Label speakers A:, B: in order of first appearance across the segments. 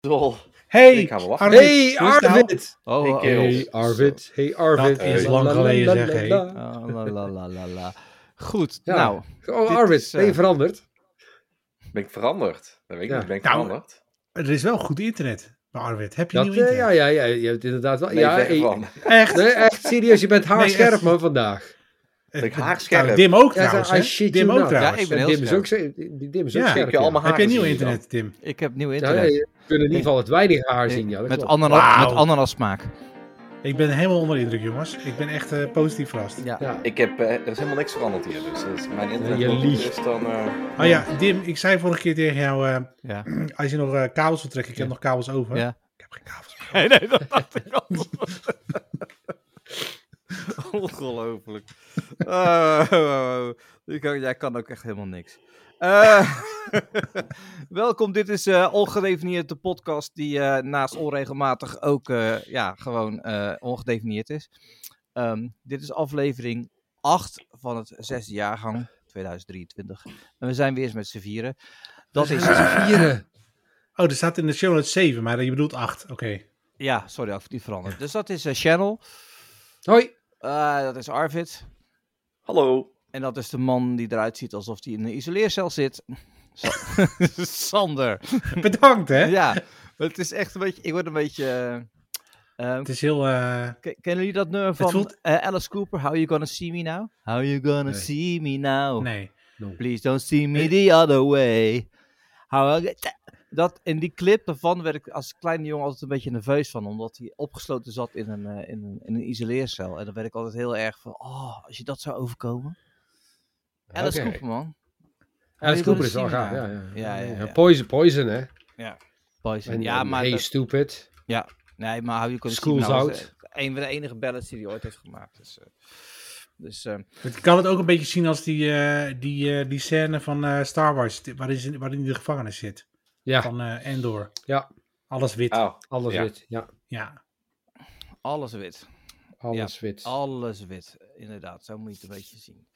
A: Dol.
B: Hey,
C: Ik ga wel wachten.
B: Arvid.
D: Hey
B: hoe is het nou?
D: Arvid!
A: Oh,
C: Hey,
A: oh,
C: kerel.
A: oh.
D: Hey Arvid, hey Arvid.
B: Dat is lang geleden,
D: La, la, la,
B: zeg,
D: la, la.
A: Ah, la, la, la, la, la. Goed,
D: Ja.
A: nou.
D: Oh
A: Dit
D: Arvid,
A: is, eh,
D: ben je veranderd?
C: Ben ik veranderd? Dat weet ik
D: Ja.
C: niet. Ben ik
B: Nou,
C: veranderd?
B: Er is wel goed internet. Maar Arvid, heb je
D: Dat,
B: nieuw
D: eh,
B: internet?
D: ja, ja, ja, je hebt inderdaad wel.
C: Nee,
D: ja,
C: weg
D: hey,
C: van.
B: Echt?
D: nee, echt serieus, je bent haarscherp
B: echt.
D: man vandaag.
B: Het-
C: Ik
B: het-
C: haarscherp.
B: nou, Dim ook
D: Ja,
B: trouwens.
D: I
B: hè?
D: shit
B: Dim
D: you
B: ook
D: not.
B: trouwens.
A: Ja, ik ben
D: En
A: heel
D: Dim is
A: scherp.
D: ook, ze- Dim is ook
B: Ja,
D: scherp.
C: Ik al mijn
D: Ja.
C: haar
B: heb jij nieuw
C: gezien dan?
B: internet, Tim?
A: Ik heb nieuw
D: Ja,
A: internet.
D: nee, je kunt in ieder geval het weinig haar zien. Ja, dat
A: met,
D: klopt.
A: ananas,
B: Wauw.
A: met ananassmaak.
B: Ik ben helemaal onder de indruk, jongens. Ik ben echt eh, positief verrast.
A: Ja.
D: Ja.
C: Ik heb, eh, er is helemaal niks veranderd hier. Dus dat is mijn internet
D: je
C: loopt
D: liegt.
C: dus dan... eh,
B: Oh ja, Dim, ik zei vorige keer tegen jou, eh,
A: Ja.
B: als je nog eh, kabels wil trekken, ik heb
A: Ja.
B: nog kabels over.
A: Ja.
B: Ik heb geen kabels meer.
A: Nee, nee, dat dacht ik al. Ongelooflijk. Eh, je kan- jij kan ook echt helemaal niks. Eh, welkom, dit is eh Ongedefinieerd, de podcast die eh, naast onregelmatig ook eh, ja, gewoon eh, ongedefinieerd is. Ehm, dit is aflevering 8 van het zesde jaargang 2023. En we zijn weer eens met z'n vieren. Dat is
D: Vieren.
B: Oh, er staat in de show notes 7, maar je bedoelt 8. Oké.
A: Ja, sorry, ik die veranderd. Dus dat is eh, Channel.
D: Hoi.
A: Eh, dat is Arvid.
C: hallo.
A: En dat is de man die eruit ziet alsof hij in een isoleercel zit. Sa- Sander.
B: Bedankt, hè?
A: Ja, het is echt een beetje. Ik word een beetje. eh, eh,
B: Het is heel... eh,
A: ke- kennen jullie dat nummer van
B: voelt-
A: eh, Alice Cooper? How you gonna see me now? How you gonna
B: Nee.
A: see me now?
B: nee.
A: Please don't see me the other way. How I- dat, in die clip daarvan werd ik als kleine jongen altijd een beetje nerveus van. Omdat hij opgesloten zat in een, eh, in een, in een isoleercel. En dan werd ik altijd heel erg van... Oh, als je dat zou overkomen. Alice
D: Oké.
A: Cooper, man.
D: Alice
A: je
D: Cooper
A: dat
D: is wel
A: zien,
D: gaaf.
A: ja.
D: Ja, ja.
A: Ja, ja, ja.
D: Poison, poison, hè?
A: Poison.
D: En,
A: ja,
D: en
A: maar...
D: Hey,
A: dat-
D: stupid.
A: nee, maar hou je kunnen
D: School's out.
A: Een van de enige ballads die hij ooit heeft gemaakt. Dus... eh, dus eh,
B: Ik kan het ook een beetje zien als die, eh, die, eh, die scène van eh, Star Wars, die- waarin, ze- waarin de gevangenis zit.
D: Ja,
B: Van eh, Endor.
D: Ja.
B: Alles wit.
C: Oh,
D: alles
C: Ja.
D: wit. Ja,
B: Ja.
A: alles wit.
D: alles wit.
A: Alles wit. Inderdaad, zo moet je het een beetje zien.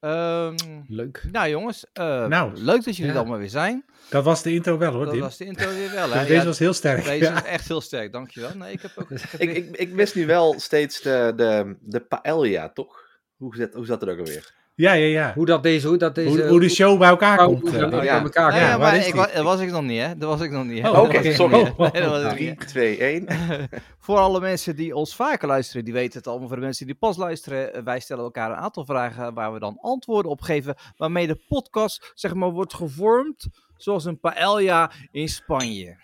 A: Ehm,
D: Leuk.
A: nou jongens, eh,
B: Nou,
A: leuk dat jullie
D: ja.
A: er allemaal weer zijn.
B: Dat was de intro wel, hoor,
A: Dat
B: Dim.
A: was de intro weer wel, hè?
B: Dus deze
A: Ja,
B: was heel sterk.
A: deze
B: Ja.
A: was echt heel sterk, dankjewel. Nee, ik heb ook... heb
C: Ik,
A: weer-
C: ik, ik mis nu wel steeds de, de, de paella, toch? Hoe zat, hoe zat het ook alweer?
B: Ja, ja, ja.
D: Hoe dat deze, hoe dat deze...
B: Hoe, hoe de show bij elkaar
D: hoe-
B: komt.
D: hoe dat
B: eh.
C: Oh, ja.
D: aan elkaar
A: Nou
D: komt.
B: waar
A: ja, maar
B: is
A: ik,
B: die?
A: wa- dat was ik nog niet, hè? Dat was ik nog niet, hè?
B: Oh,
A: Dat
C: oké,
A: was ik
C: sorry.
A: nog niet, hè. Nee, dat was ik niet,
C: 3, 2, 1.
A: hè. Voor alle mensen die ons vaker luisteren, die weten het allemaal. Voor de mensen die pas luisteren, eh, wij stellen elkaar een aantal vragen waar we dan antwoorden op geven. Waarmee de podcast, zeg maar, wordt gevormd zoals een paella in Spanje.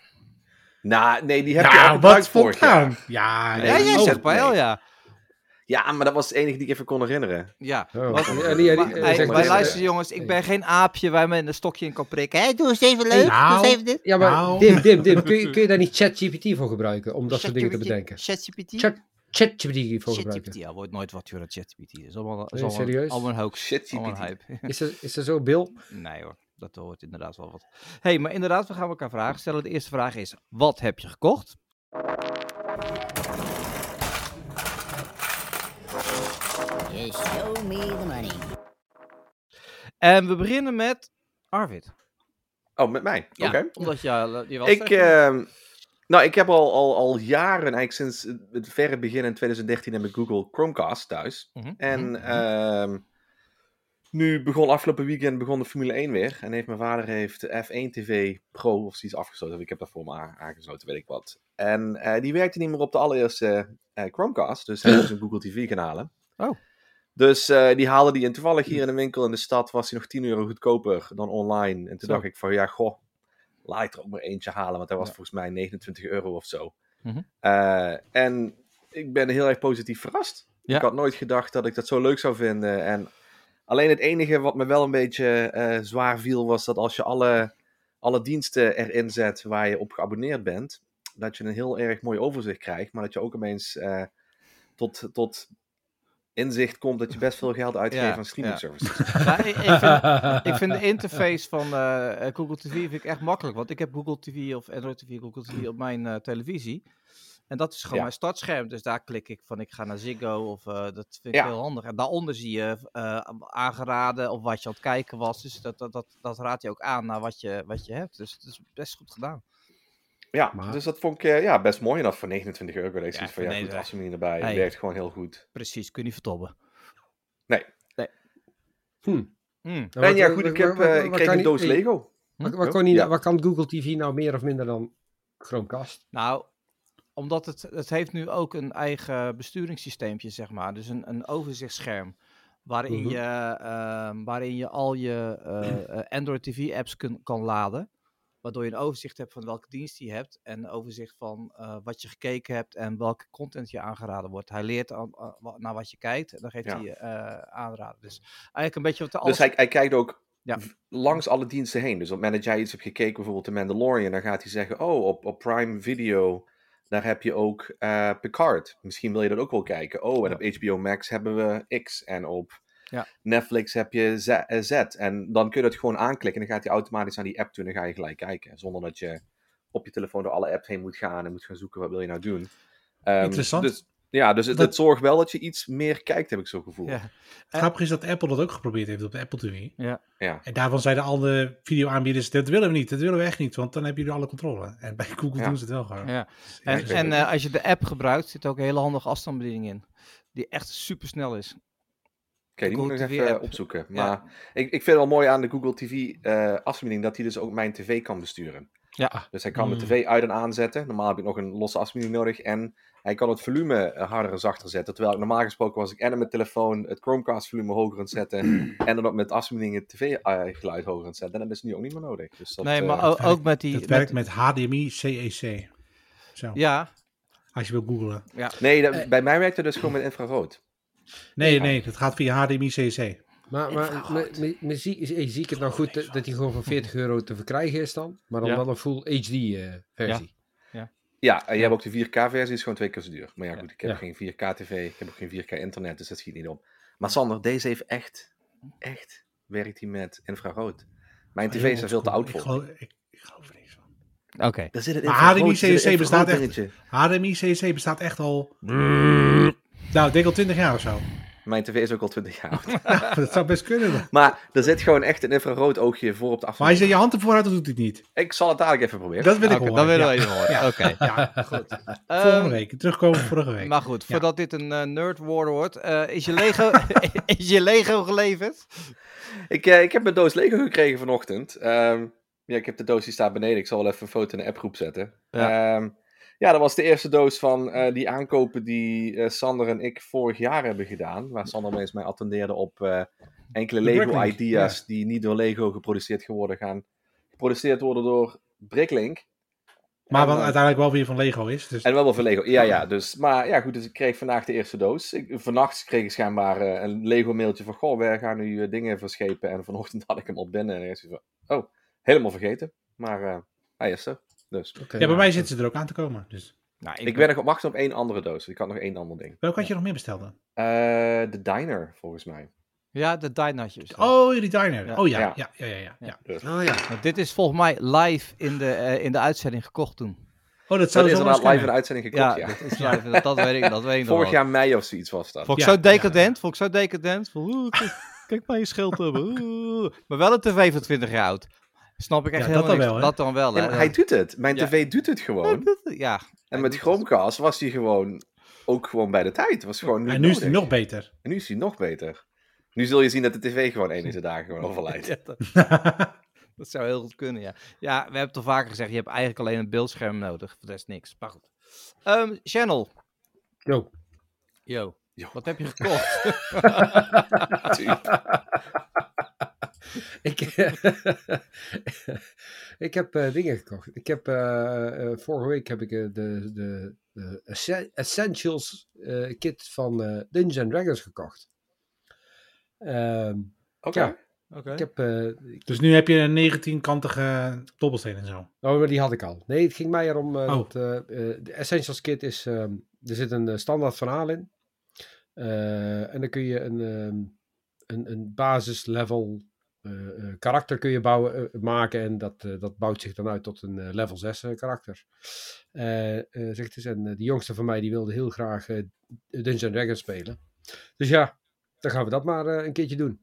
C: Nou, nee, die heb je al
B: Nou,
C: gebruikt
B: wat
C: vorig jaar.
B: spontaan. Ja,
C: Nee,
A: Ja, jij
C: oh,
A: zegt
C: nee.
A: paella.
C: Ja, maar dat was het enige die ik even kon herinneren.
A: Ja.
D: Oh,
A: Wat-
D: en die- en die-
A: Maar,
D: en die
A: hey,
D: zegt-
C: zeg
A: maar
C: maar-
A: luister jongens, ik ben geen aapje waar men een stokje in kan prikken. Hé, doe eens even leuk, doe
B: Nou.
A: eens even dit.
D: Ja, maar
B: Nou.
D: Dim, Dim, Dim, kun je, kun je daar niet ChatGPT voor gebruiken? Om dat soort dingen te bedenken.
A: ChatGPT?
D: Chat- ChatGPT voor
A: ChatGPT,
D: gebruiken.
A: ja, wordt nooit wat joh, dat ChatGPT is. Allemaal, is
D: Nee,
A: allemaal,
D: serieus?
A: allemaal een hoax.
C: Shit,
A: Allemaal een hype.
D: Is dat, is dat zo, Bill?
A: Nee hoor, dat wordt inderdaad wel wat. Hé, hey, maar inderdaad, we gaan elkaar vragen stellen. De eerste vraag is, wat heb je gekocht?
E: You show me the money.
A: En we beginnen met Arvid.
C: Oh, met mij?
A: Ja,
C: Oké.
A: omdat je, eh, je was
C: Ik,
A: er-
C: ehm, nou, ik heb al, al, al jaren, eigenlijk sinds het- het verre begin in 2013, heb ik Google Chromecast thuis.
A: Mhm,
C: eh, En
A: mhm.
C: ehm, nu begon afgelopen weekend begon de Formule 1 weer. En heeft mijn vader heeft de F1 TV Pro of zoiets afgesloten. Ik heb dat voor me a- aangesloten, weet ik wat. En eh, die werkte niet meer op de allereerste eh, Chromecast. Dus hij moest een Google TV kanalen.
A: Oh.
C: Dus eh, die haalde die. En toevallig hier in de winkel in de stad was hij nog 10 euro goedkoper dan online. En toen
A: Zo.
C: dacht ik van ja, goh, laat ik er ook maar eentje halen. Want hij was
A: Ja.
C: volgens mij 29 euro of zo.
A: Mhm.
C: Eh, en ik ben heel erg positief verrast.
A: Ja.
C: Ik had nooit gedacht dat ik dat zo leuk zou vinden. En alleen het enige wat me wel een beetje eh, zwaar viel, was dat als je alle, alle diensten erin zet waar je op geabonneerd bent, dat je een heel erg mooi overzicht krijgt. Maar dat je ook ineens eh, tot, tot inzicht komt dat je best veel geld uitgeeft
A: Ja,
C: aan streaming
A: ja.
C: services.
A: Maar ik, ik vind, ik vind de interface van eh, eh, Google TV vind ik echt makkelijk. Want ik heb Google TV of Android TV, Google TV op mijn eh, televisie. En dat is gewoon
C: Ja.
A: mijn startscherm. Dus daar klik ik van ik ga naar Ziggo. Of, eh, dat vind ik
C: Ja.
A: heel handig. En daaronder zie je eh, aangeraden of wat je aan het kijken was. Dus dat, dat, dat, dat raad je ook aan naar wat je, wat je hebt. Dus het is best goed gedaan.
C: Ja,
D: Maar-
C: dus dat vond ik eh, ja, best mooi. En dat voor 29 euro. Ik
A: Ja,
C: ja, van ja,
A: nee,
C: goed,
A: dat-
C: Assuming erbij.
A: Hey.
C: Werkt gewoon heel goed.
A: Precies, kun je niet vertobben.
D: Hm.
A: Hm.
D: En
C: en
D: wat-
C: ja,
D: wat-
C: goed, ik,
D: wat-
C: heb,
D: wat-
C: eh,
D: wat
C: ik
D: kan
C: kreeg een
D: die-
C: doos
D: eh,
C: Lego.
D: Wat, wat kon die,
C: Ja.
D: wat kan Google TV nou meer of minder dan Chromecast?
A: Nou, omdat het, het heeft nu ook een eigen besturingssysteempje, zeg maar. Dus een, een overzichtsscherm. Waarin,
D: Mhm.
A: je, ehm, waarin je al je eh, eh, Android TV apps kun- kan laden. Waardoor je een overzicht hebt van welke dienst je hebt. En een overzicht van eh, wat je gekeken hebt en welke content je aangeraden wordt. Hij leert aan, aan wa- naar wat je kijkt en dan geeft
C: Ja.
A: hij je eh, aanraden. Dus eigenlijk een beetje wat de
C: Dus hij, hij kijkt ook
A: Ja.
C: v- langs alle diensten heen. Dus op het moment dat jij iets hebt gekeken, bijvoorbeeld The Mandalorian, dan gaat hij zeggen: Oh, op, op Prime Video, daar heb je ook eh, Picard. Misschien wil je dat ook wel kijken. Oh, en
A: Ja.
C: op HBO Max hebben we X. En op
A: Ja.
C: Netflix heb je Z, eh, Z. En dan kun je dat gewoon aanklikken. En dan gaat hij automatisch aan die app toe en dan ga je gelijk kijken. Zonder dat je op je telefoon door alle apps heen moet gaan en moet gaan zoeken: wat wil je nou doen? Ehm,
B: Interessant.
C: Dus, ja, dus het,
B: Dat-
C: het zorgt wel dat je iets meer kijkt, heb ik zo gevoel.
A: Ja.
B: Het grappige is dat Apple dat ook geprobeerd heeft op de Apple TV.
C: ja.
B: En daarvan zeiden al de videoaanbieders, dat willen we niet, dat willen we echt niet, want dan hebben jullie alle controle. En bij Google
C: Ja.
B: doen ze het wel gewoon.
A: Ja.
C: Ja,
A: En,
C: ik weet
A: en
C: het.
A: eh, als je de app gebruikt, zit ook een hele handige afstandsbediening in. Die echt super snel is.
C: Oké, die moet ik nog
A: Google
C: even
A: TV app.
C: opzoeken.
A: Ja.
C: Maar ik, ik vind het wel mooi aan de Google TV eh afspeling dat hij dus ook mijn tv kan besturen.
A: Ja.
C: Dus hij kan
B: Mm.
A: Hmm.
C: de tv uit en aanzetten. Normaal heb ik nog een losse afspeling nodig. En hij kan het volume eh, harder en zachter zetten. Terwijl ik normaal gesproken was ik en op mijn telefoon het Chromecast volume hoger aan het
A: Hmm.
C: zetten. en dan ook met afspeling het tv eh, geluid hoger aan het zetten. En dat is nu ook niet meer nodig. Dus dat,
A: nee,
C: eh,
A: maar oh, o-
B: werkt-
A: ook met die.
B: dat
A: met-
B: werkt met HDMI CEC. E Zo,
A: Ja,
B: als je wil googlen.
C: nee
A: eh,
C: dat- bij mij werkt het dus gewoon met infrarood.
B: Nee, nee, dat gaat via HDMI CEC.
D: Maar, maar me- me- me zie, eh, zie ik het nou goed dat, dat die
C: Hm.
D: gewoon voor 40 euro te verkrijgen is dan? Maar dan
A: Ja.
D: wel een full eh, HD-versie.
C: Ja, en je hebt ook de 4K-versie, is gewoon twee keer zo duur. Maar ja, goed, ik heb
D: Ja.
C: geen 4K-tv, ik heb ook geen 4K-internet, dus dat schiet niet op. Maar Sander, deze heeft echt, echt, werkt hij met infrarood. Mijn
B: Oh,
C: tv is er veel te oud
B: Ik
C: voor.
B: geloof, ik, ik geloof er niks van.
A: oké.
C: Er zit een
B: Maar
C: infrarood-
B: HDMI
C: er zit een
B: CRC bestaat echt.
C: infrarood dingetje.
B: HDMI CEC E bestaat echt al... Nou, ik denk al 20 jaar of zo.
C: Mijn tv is ook al 20 jaar oud.
B: dat zou best kunnen. Maar
C: Maar er zit gewoon echt een infrarood oogje voor op de
B: als je
C: afstand.
B: je hand ervoor houdt, dan doet hij het niet.
C: Ik zal het dadelijk even proberen.
B: Dat wil ik
A: Oké,
B: horen.
A: dan willen we
B: ja.
A: even horen.
B: Ja.
A: Oké.
B: Ja,
A: Goed.
B: volgende
A: Ehm,
B: week. Terugkomen op vorige week.
A: maar goed,
B: Ja.
A: voordat dit een eh, nerd war wordt, eh, is, je Lego, is je Lego geleverd?
C: Ik, eh, ik heb mijn doos Lego gekregen vanochtend. Ehm, ja, ik heb de doos die staat beneden. Ik zal wel even een foto in de appgroep zetten.
A: Ja.
C: Ja, ja dat was de eerste doos van eh, die aankopen die eh, Sander en ik vorig jaar hebben gedaan. Waar Sander eens mij attendeerde op eh, enkele
B: De Bricklink,
C: Lego-ideas die niet door Lego geproduceerd geworden gaan. Geproduceerd worden door Bricklink.
B: Maar
C: En,
B: wat
C: eh,
B: uiteindelijk wel weer van Lego is. Dus
C: en wel wel van Lego. Ja, ja. Dus, maar ja, goed. Dus ik kreeg vandaag de eerste doos. Ik, vannacht kreeg ik schijnbaar eh, een Lego-mailtje van... Goh, wij gaan nu eh, dingen verschepen. En vanochtend had ik hem al binnen. En ik dacht van... Oh, helemaal vergeten. Maar eh, hij is er. Dus.
D: Oké. nou.
B: ja, bij mij zitten ze er ook aan te komen. Dus.
A: Nou,
C: Ik ben nog op wachten op één andere doos. Ik had nog één ander ding.
B: Welke had je nog meer besteld dan?
C: Eh, de diner, volgens mij.
A: Ja, de Dynatjes.
B: Oh, die diner.
A: Ja.
B: Oh ja,
C: Ja.
B: ja, ja, ja. ja, ja.
D: Oh ja.
A: Want Nou, dit is volgens mij live in de, eh, in de uitzending gekocht toen.
B: Oh, dat
C: Dat
B: zou
C: is
B: ze wel
C: inderdaad live in de
B: kunnen.
C: uitzending gekocht, ja.
A: dat is live. Dat, dat weet ik, dat weet ik nog
C: Vorig
A: wel.
C: jaar mei of zoiets was dat.
A: Vond ik
B: Ja,
A: zo decadent, vond ik zo decadent. Van, oeh, kijk, kijk maar je schild hebben. oeh. Maar wel een tv van 20 jaar oud. Snap ik echt
B: Ja, dat dan
A: helemaal niks.
B: wel, hè?
A: dat dan wel,
C: Ja,
A: hè?
C: maar hij doet het. Mijn
A: Ja.
C: tv doet het gewoon.
A: ja. hij
C: En met
A: doet
C: Chromecast was hij gewoon... Ook gewoon bij de tijd. Was gewoon
B: En nu is
C: nodig.
B: die nog beter.
C: En nu is hij nog beter. Nu zul je zien dat de tv gewoon één deze dagen gewoon overlijdt.
A: Ja, dat, dat zou heel goed kunnen, ja. Ja, we hebben het al vaker gezegd, je hebt eigenlijk alleen een beeldscherm nodig. Dat is niks, maar goed. Ehm, Channel.
D: Yo.
A: Yo.
C: Yo.
A: Wat heb je gekocht?
D: Ik, ik heb eh, dingen gekocht. Ik heb, eh, eh, vorige week heb ik eh, de, de, de Essen- Essentials eh, kit van eh Dungeons and Dragons gekocht. Ehm,
C: Oké.
D: Ja.
A: Oké.
D: ik heb, eh,
B: Dus nu heb je een 19-kantige dobbelsteen en zo.
D: oh, maar die had ik al. Nee, het ging mij erom. eh,
B: Oh.
D: dat, eh, eh, de Essentials kit is, ehm, er zit een eh, standaard verhaal in. Eh, en dan kun je een, ehm, een, een basislevel eh, eh, karakter kun je bouwen, eh, maken. En dat, eh, dat bouwt zich dan uit tot een eh, level 6 eh, karakter. Eh, eh, zegt dus, en eh, de jongste van mij die wilde heel graag eh Dungeons and Dragons spelen. Dus ja, dan gaan we dat maar eh, een keertje doen.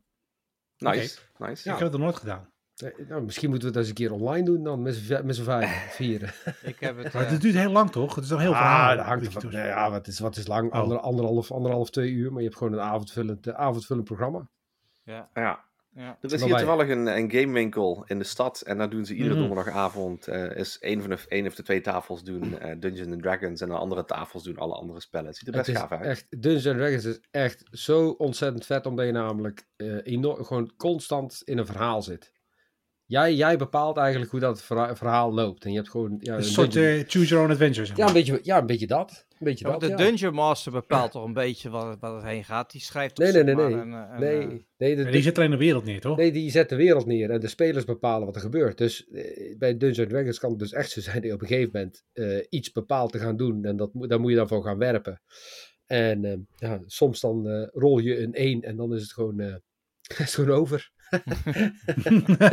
C: Nice. nice.
B: Ik heb het nog nooit gedaan.
D: Eh, Nou, misschien moeten we dat eens een keer online doen dan, met z'n vi- met z'n vijf, vieren.
A: Ik heb het.
B: Maar
A: eh,
B: het duurt heel lang, toch? Het is al heel
D: ah,
B: verhaal.
D: dat hangt er van- nou ja, wat is, wat is lang? Ander, anderhalf, anderhalf, twee uur, maar je hebt gewoon een avondvullend, eh, avondvullend programma.
A: ja,
C: Ja.
A: ja.
C: Er is
D: Maar
C: hier
D: wij-
C: toevallig een, een gamewinkel in de stad. En daar doen ze iedere
B: Mhm.
C: donderdagavond. eh, is een van de één of de twee tafels doen eh, Dungeons and Dragons. En de andere tafels doen alle andere spellen. Het ziet er
D: Het
C: best
D: is
C: gaaf uit.
D: echt, Dungeons and Dragons is echt zo ontzettend vet, omdat je namelijk eh, enorm, gewoon constant in een verhaal zit. Jij, jij bepaalt eigenlijk hoe dat verha- verhaal loopt. En je hebt gewoon... Ja,
B: Een
D: een
B: soort
D: dungeon-
B: eh, choose your own adventure. Zeg
D: ja,
B: maar.
D: een beetje, ja, een beetje dat. Een beetje
A: Ja, want
D: dat,
A: de
D: ja.
A: Dungeon Master bepaalt toch een beetje waar, waar het heen gaat. Die schrijft toch
D: Nee, nee,
A: zeg
D: nee,
A: maar een, eh, een, eh,
D: Nee, nee, de,
B: Maar die zit alleen de wereld neer, toch?
D: Nee, die zet de wereld neer en de spelers bepalen wat er gebeurt. Dus eh, bij Dungeons and Dragons kan het dus echt zo zijn dat je op een gegeven moment eh, iets bepaalt te gaan doen. En dat, moet- daar moet je dan voor gaan werpen. En eh, ja, soms dan eh, rol je een 1 en dan is het gewoon, eh, is het gewoon over.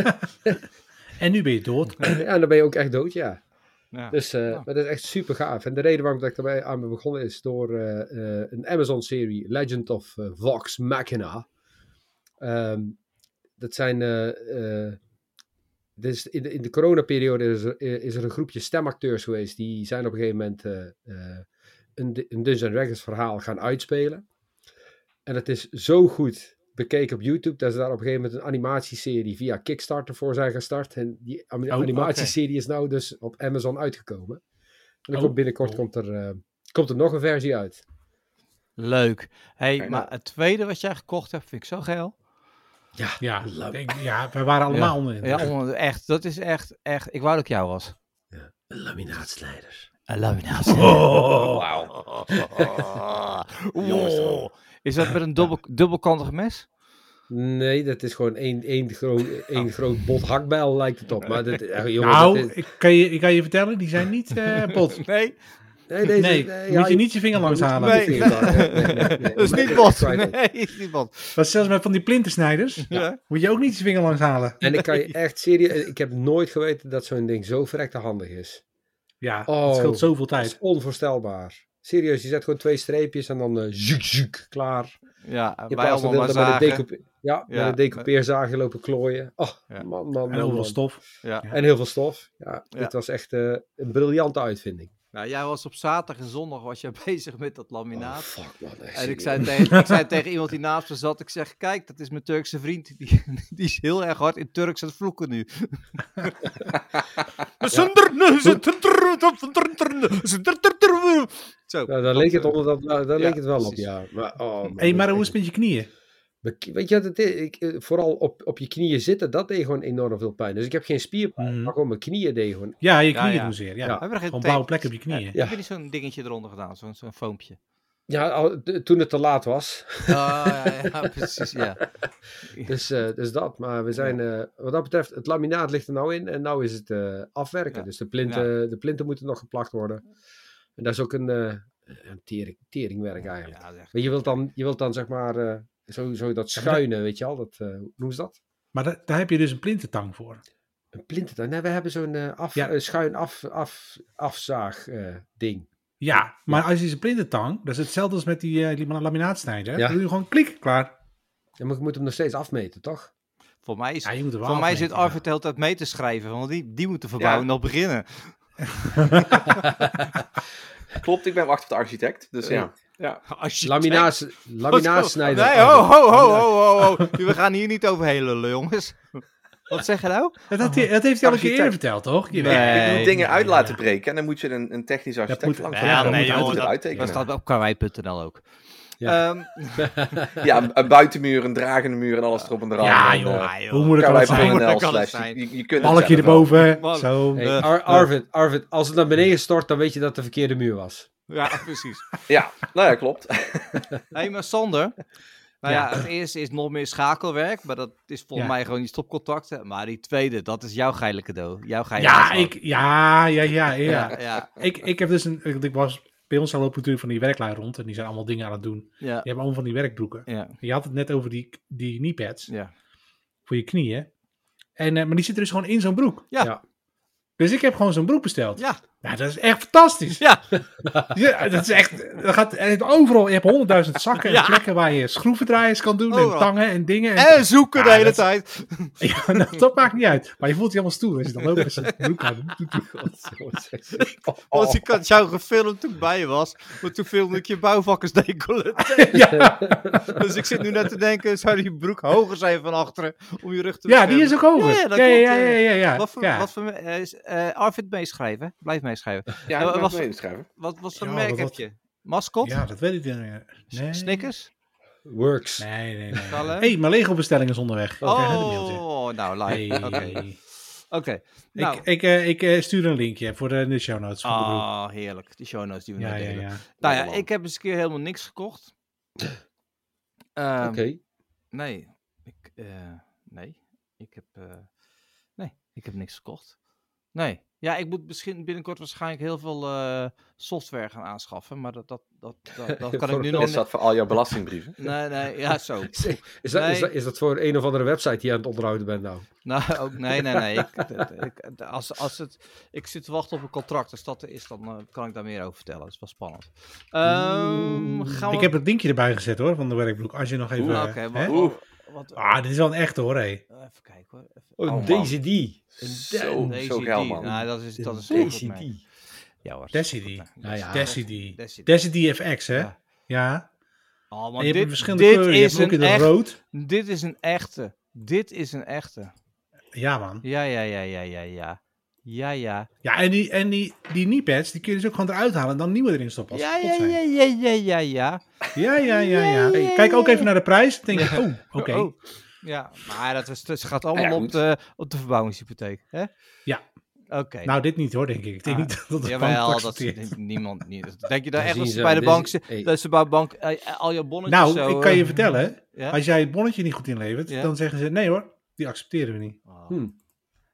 B: en nu ben je dood.
D: ja, en dan ben je ook echt dood, ja.
A: ja.
D: Dus eh,
A: Ja.
D: maar dat is echt super gaaf. En de reden waarom dat ik daarbij aan ben begonnen is door eh, eh, een Amazon-serie, Legend of eh, Vox Machina. Ehm, dat zijn. eh, eh, dit is in, de, in de coronaperiode is er, eh, is er een groepje stemacteurs geweest. Die zijn op een gegeven moment eh, eh, een, D- een Dungeons Dragons verhaal gaan uitspelen. En het is zo goed bekeken op YouTube dat ze daar op een gegeven moment een animatieserie via Kickstarter voor zijn gestart. En die am-
B: Oh, oké.
D: animatieserie is nou dus op Amazon uitgekomen. En dan
B: Oh,
D: komt binnenkort
B: cool.
D: komt, er, eh, komt er nog een versie uit.
A: Leuk. hey,
C: Kijk
A: maar
C: nou.
A: het tweede wat jij gekocht hebt, vind ik zo geil.
B: Ja, ik denk, ja we waren allemaal onder. de
A: Ja,
B: indruk.
A: on- echt. Dat is echt, echt. Ik wou dat ik jou was.
D: Laminaatslijders.
A: I love you
B: Oh,
C: Jongens, dan.
A: Oh. Is dat met een dubbel, dubbelkantig mes?
D: Nee, dat is gewoon één, één, groot, één groot bot hakbijl lijkt het op. Maar dit, eh, jongen,
B: Oh. nou,
D: dit is-
B: ik kan, je, ik kan je vertellen, die zijn niet eh bot.
A: Nee.
D: nee,
B: Nee,
D: deze- ja,
B: moet je niet je vinger langs
D: moet-
B: halen.
A: Nee.
D: Nee, nee, nee, nee.
A: Dat is niet bot. Nee, is niet bot.
B: Dat is zelfs met van die plintersnijders.
A: Ja.
B: Moet je ook niet je vinger langs halen.
D: En ik kan je echt serieus... Ik heb nooit geweten dat zo'n ding zo verrekte handig is.
B: Ja,
D: Oh.
B: het scheelt zoveel
D: Dat is
B: tijd.
D: onvoorstelbaar. Serieus, je zet gewoon twee streepjes en dan eh ziek, ziek, klaar.
A: Ja,
D: Je
A: wij allemaal maar
D: met een
A: zagen.
D: decoupe- ja,
A: Ja,
D: met een decoupeerzaagje lopen klooien. Oh,
A: Ja.
D: man, man, man,
B: En overal
D: man.
B: stof.
A: Ja.
D: En heel veel stof. Ja,
A: Ja.
D: dit was echt eh, een briljante uitvinding.
A: Nou, jij was op zaterdag en zondag was jij bezig met dat
D: Oh,
A: laminaat.
D: fuck man. echt
A: En ik
D: serieus.
A: zei, tegen, ik zei tegen iemand die naast me zat, ik zeg, kijk, dat is mijn Turkse vriend. Die, die is heel erg hard in Turks aan het vloeken nu. Zo.
D: Nou, daar leek het, onder dat, daar daar
A: eh, Ja,
D: leek het wel op,
A: precies.
D: ja. Maar, oh, man,
B: Hé, maar
D: dat
B: hoe is
D: is
B: het met je knieën?
D: echt- Weet je wat het is? Ik, eh, vooral op, op je knieën zitten, dat deed gewoon enorm veel pijn. Dus ik heb geen spierpijn,
B: Mhm.
D: maar gewoon mijn knieën deed gewoon...
B: Ja, je
A: Ja,
B: knieën
A: ja.
B: doen zeer. Ja.
D: Ja.
A: Hebben we er geen
B: Gewoon
A: tape?
B: blauwe plek op je knieën.
A: Heb je niet zo'n dingetje eronder gedaan, zo'n zo'n foompje?
D: Ja, al- de- toen het te laat was.
A: Ah, ja, ja, precies, ja.
D: Dus, eh, dus dat, maar we zijn, eh, wat dat betreft, het laminaat ligt er nou in en nou is het eh, afwerken.
A: Ja.
D: Dus de plinten, de plinten moeten nog geplakt worden. En dat is ook een, eh, een tering, teringwerk eigenlijk.
A: Ja, zeg.
D: Want je wilt dan, je wilt dan zeg maar, eh, zo, zo dat schuine, weet je al, dat, eh, hoe noemen ze dat?
B: Maar da- daar heb je dus een plintentang voor.
D: Een plinten, nee, we hebben zo'n eh, af,
B: Ja.
D: eh, schuin af, af, afzaag eh, ding.
B: Ja, maar als je een plintentang, dat is hetzelfde als met die eh, die laminaatsnijder.
D: Ja.
B: Dan doe je gewoon klik, klaar.
D: En maar je moet hem nog steeds afmeten, toch?
A: Voor mij, is,
B: Ja, je moet er wel
A: voor mij
B: afmeten,
A: zit Arvid de hele tijd mee te schrijven, want die, die moet de verbouwing nog beginnen.
C: Klopt, ik ben wacht op de architect. Dus
A: Eh,
C: ja.
A: Als je
D: Laminaat, laminaatsnijder.
A: Nee, ho, ho, ho, ho, ho, ho. We gaan hier niet overheen lullen, jongens. Wat zeg je nou?
B: Dat, had hij- dat heeft hij al een keer
C: Architect.
B: eerder verteld, toch? Je
A: Nee.
B: weet-
C: Ik moet dingen uit
B: ja.
C: laten breken en dan moet je een, een technisch architect
B: moet-
C: langs.
B: Ja,
C: dan
B: nee,
C: moet je
B: joh,
C: het
A: dat-
C: uittekenen.
A: Dat staat op karwei.nl ook.
D: Ja.
A: Ehm,
C: Ja, een- een buitenmuur, een dragende muur en alles erop en eraan.
B: Ja,
C: En,
B: joh.
C: eh,
A: ah, joh.
B: Hoe moeilijk kan het
A: Karwei.nl.
B: zijn?
C: karwei.nl
A: kan het
C: slash-
A: zijn.
C: je- je kunt het
B: Balkje
C: zelf wel.
B: erboven.
A: Man.
B: Zo.
D: Hey,
A: Eh,
D: Ar- Arvid, Arvid, als het naar beneden stort, dan weet je dat het de verkeerde muur was.
A: ja, precies.
C: Ja, nou ja, klopt.
A: Hé, maar Sander. Nou ja. het eerste is nog meer schakelwerk, maar dat is volgens
B: Ja.
A: mij gewoon die stopcontacten. Maar die tweede, dat is jouw geile cadeau. Jouw geile
B: Ja,
A: cadeau.
B: ik, ja, ja, ja, ja.
A: Ja, ja,
B: Ik, ik heb dus een. want Ik was, bij ons lopen natuurlijk van die werklui rond en die zijn allemaal dingen aan het doen. Die
A: ja,
B: hebben allemaal van die werkbroeken.
A: ja,
B: Je had het net over die, die kniepads
A: ja.
B: voor je knieën. En, eh, maar die zitten dus gewoon in zo'n broek.
A: Ja.
D: Ja.
B: Dus ik heb gewoon zo'n broek besteld.
A: Ja,
B: Nou, dat is echt fantastisch.
A: Ja.
B: Ja, dat is echt. Dat gaat, en het overal, je hebt honderdduizend zakken en
A: Ja.
B: plekken waar je schroevendraaiers kan doen en
A: Overal.
B: tangen en dingen. En,
A: En zoeken de
B: Ja,
A: hele
B: dat-
A: tijd.
B: Ja, nou, dat maakt niet uit. Maar je voelt je helemaal stoer als je dan ook met zijn broek aan doet. Oh.
A: Want ik had jou gefilmd toen ik bij je was. Maar toen filmde ik je bouwvakkersdecollete.
B: Ja,
A: Dus ik zit nu net te denken, zou die broek hoger zijn van achteren om je rug te
B: ja, die
A: beschermen?
B: is ook over.
A: Ja, ja,
B: Ja,
A: dat
B: ja,
A: klopt,
B: ja,
A: ja.
B: ja, ja.
A: Wat voor,
B: ja.
A: wat voor eh, is- eh, Arvid meeschrijven? Blijf meeschrijven.
C: Ja, ik
A: Eh, was-
C: was meeschrijven.
A: Wat, wat voor
B: Ja,
A: merk
B: wat-
A: heb je? Mascot?
B: Ja, dat weet ik niet meer. Nee.
A: S- Snickers?
D: Works.
B: Nee, nee, nee.
A: Kallen?
B: Hé, hey, mijn Lego-bestelling is onderweg. Ik krijg net een mailtje.
A: Oh, nou,
B: Hey.
A: live. Oké. Oké. Nou,
B: Ik, ik, eh, ik eh, stuur een linkje voor de, de show notes. Van de broek.
A: ah, heerlijk. Die show notes die we
B: Ja,
A: net
B: ja,
A: delen.
B: ja.
A: Nou ja,
C: Lekker man.
A: ik heb eens een keer helemaal niks gekocht.
D: Oké.
A: Ehm, Nee, ik, eh, nee, ik heb, eh, nee, ik heb niks gekocht. Nee, ja, ik moet misschien binnenkort waarschijnlijk heel veel eh, software gaan aanschaffen, maar dat, dat, dat, dat, dat kan ik
D: Voor
A: nu
D: de
A: nog
C: Is
A: niet.
C: dat voor al jouw belastingbrieven?
A: Nee, nee, ja, zo.
D: Is, is dat,
A: Nee.
D: is, dat, is dat voor een of andere website die je aan het onderhouden bent nou?
A: Nou, ook, nee, nee, nee. Ik, dat- ik, als, als het, ik zit te wachten op een contract. Als dat er is, dan eh, kan ik daar meer over vertellen. Dat is wel spannend. Ehm, gaan we...
B: Ik heb het linkje erbij gezet hoor, van de werkboek. Als je nog even...
A: Oeh,
B: eh,
A: oké,
B: hè?
A: wat-
C: Oeh.
A: wat- eh,
B: Ah, dit is wel een echte hoor, hé.
A: Even kijken hoor. Even-
D: Oh,
C: Oh, man.
D: DCD. Een
C: Zo,
A: Daisy
C: zo geil,
A: D.
C: man.
A: Nou, dat is, dat is een goed merk.
D: DCD.
A: Ja hoor.
B: Desidy.
A: Goed,
D: Nou ja.
B: Desidy.
A: Desidy.
B: Desidy FX, hè?
A: Ja.
B: Ja.
A: Oh,
B: En
A: maar
B: je hebt
A: dit,
B: verschillende
A: dit
B: kleuren. Je
A: is
B: hebt hem ook in
A: een
B: het
A: echt,
B: rood.
A: Dit is een echte. Dit is een echte.
B: Ja, man.
A: Ja, ja, ja, ja, ja, ja. Ja, ja.
B: Ja, en die, en die, die kneepads, die kun je dus ook gewoon eruit halen en dan nieuwe erin stoppen. Als
A: Ja,
B: ze
A: ja,
B: kapot zijn.
A: ja, ja, ja, ja, ja.
B: ja, ja, ja, ja.
A: Ja, ja,
B: Kijk ook
A: ja,
B: even naar de prijs. Dan denk je, oh, oké.
A: Oh. Ja, maar dat is, het gaat
C: Ja,
A: allemaal op,
C: goed.
A: de, op de verbouwingshypotheek, hè?
B: Ja.
A: Oké.
B: Nou, dit niet hoor, denk ik. Ik denk
A: Ah,
B: niet dat de bank
A: Jawel, dat
B: accepteert.
A: ziet niemand niet. Denk je daar
D: Dan
A: echt dat
D: zien
A: ze
D: ze,
A: bij de
D: dit is-
A: bank zitten?
D: hey.
A: Dat ze bij de bank eh, al je bonnetjes
B: Nou,
A: zo...
B: ik kan je
A: eh,
B: vertellen,
A: ja?
B: als jij het bonnetje niet goed inlevert,
A: Ja.
B: dan zeggen ze, nee hoor, die accepteren we niet.
A: Oh.
D: Hm.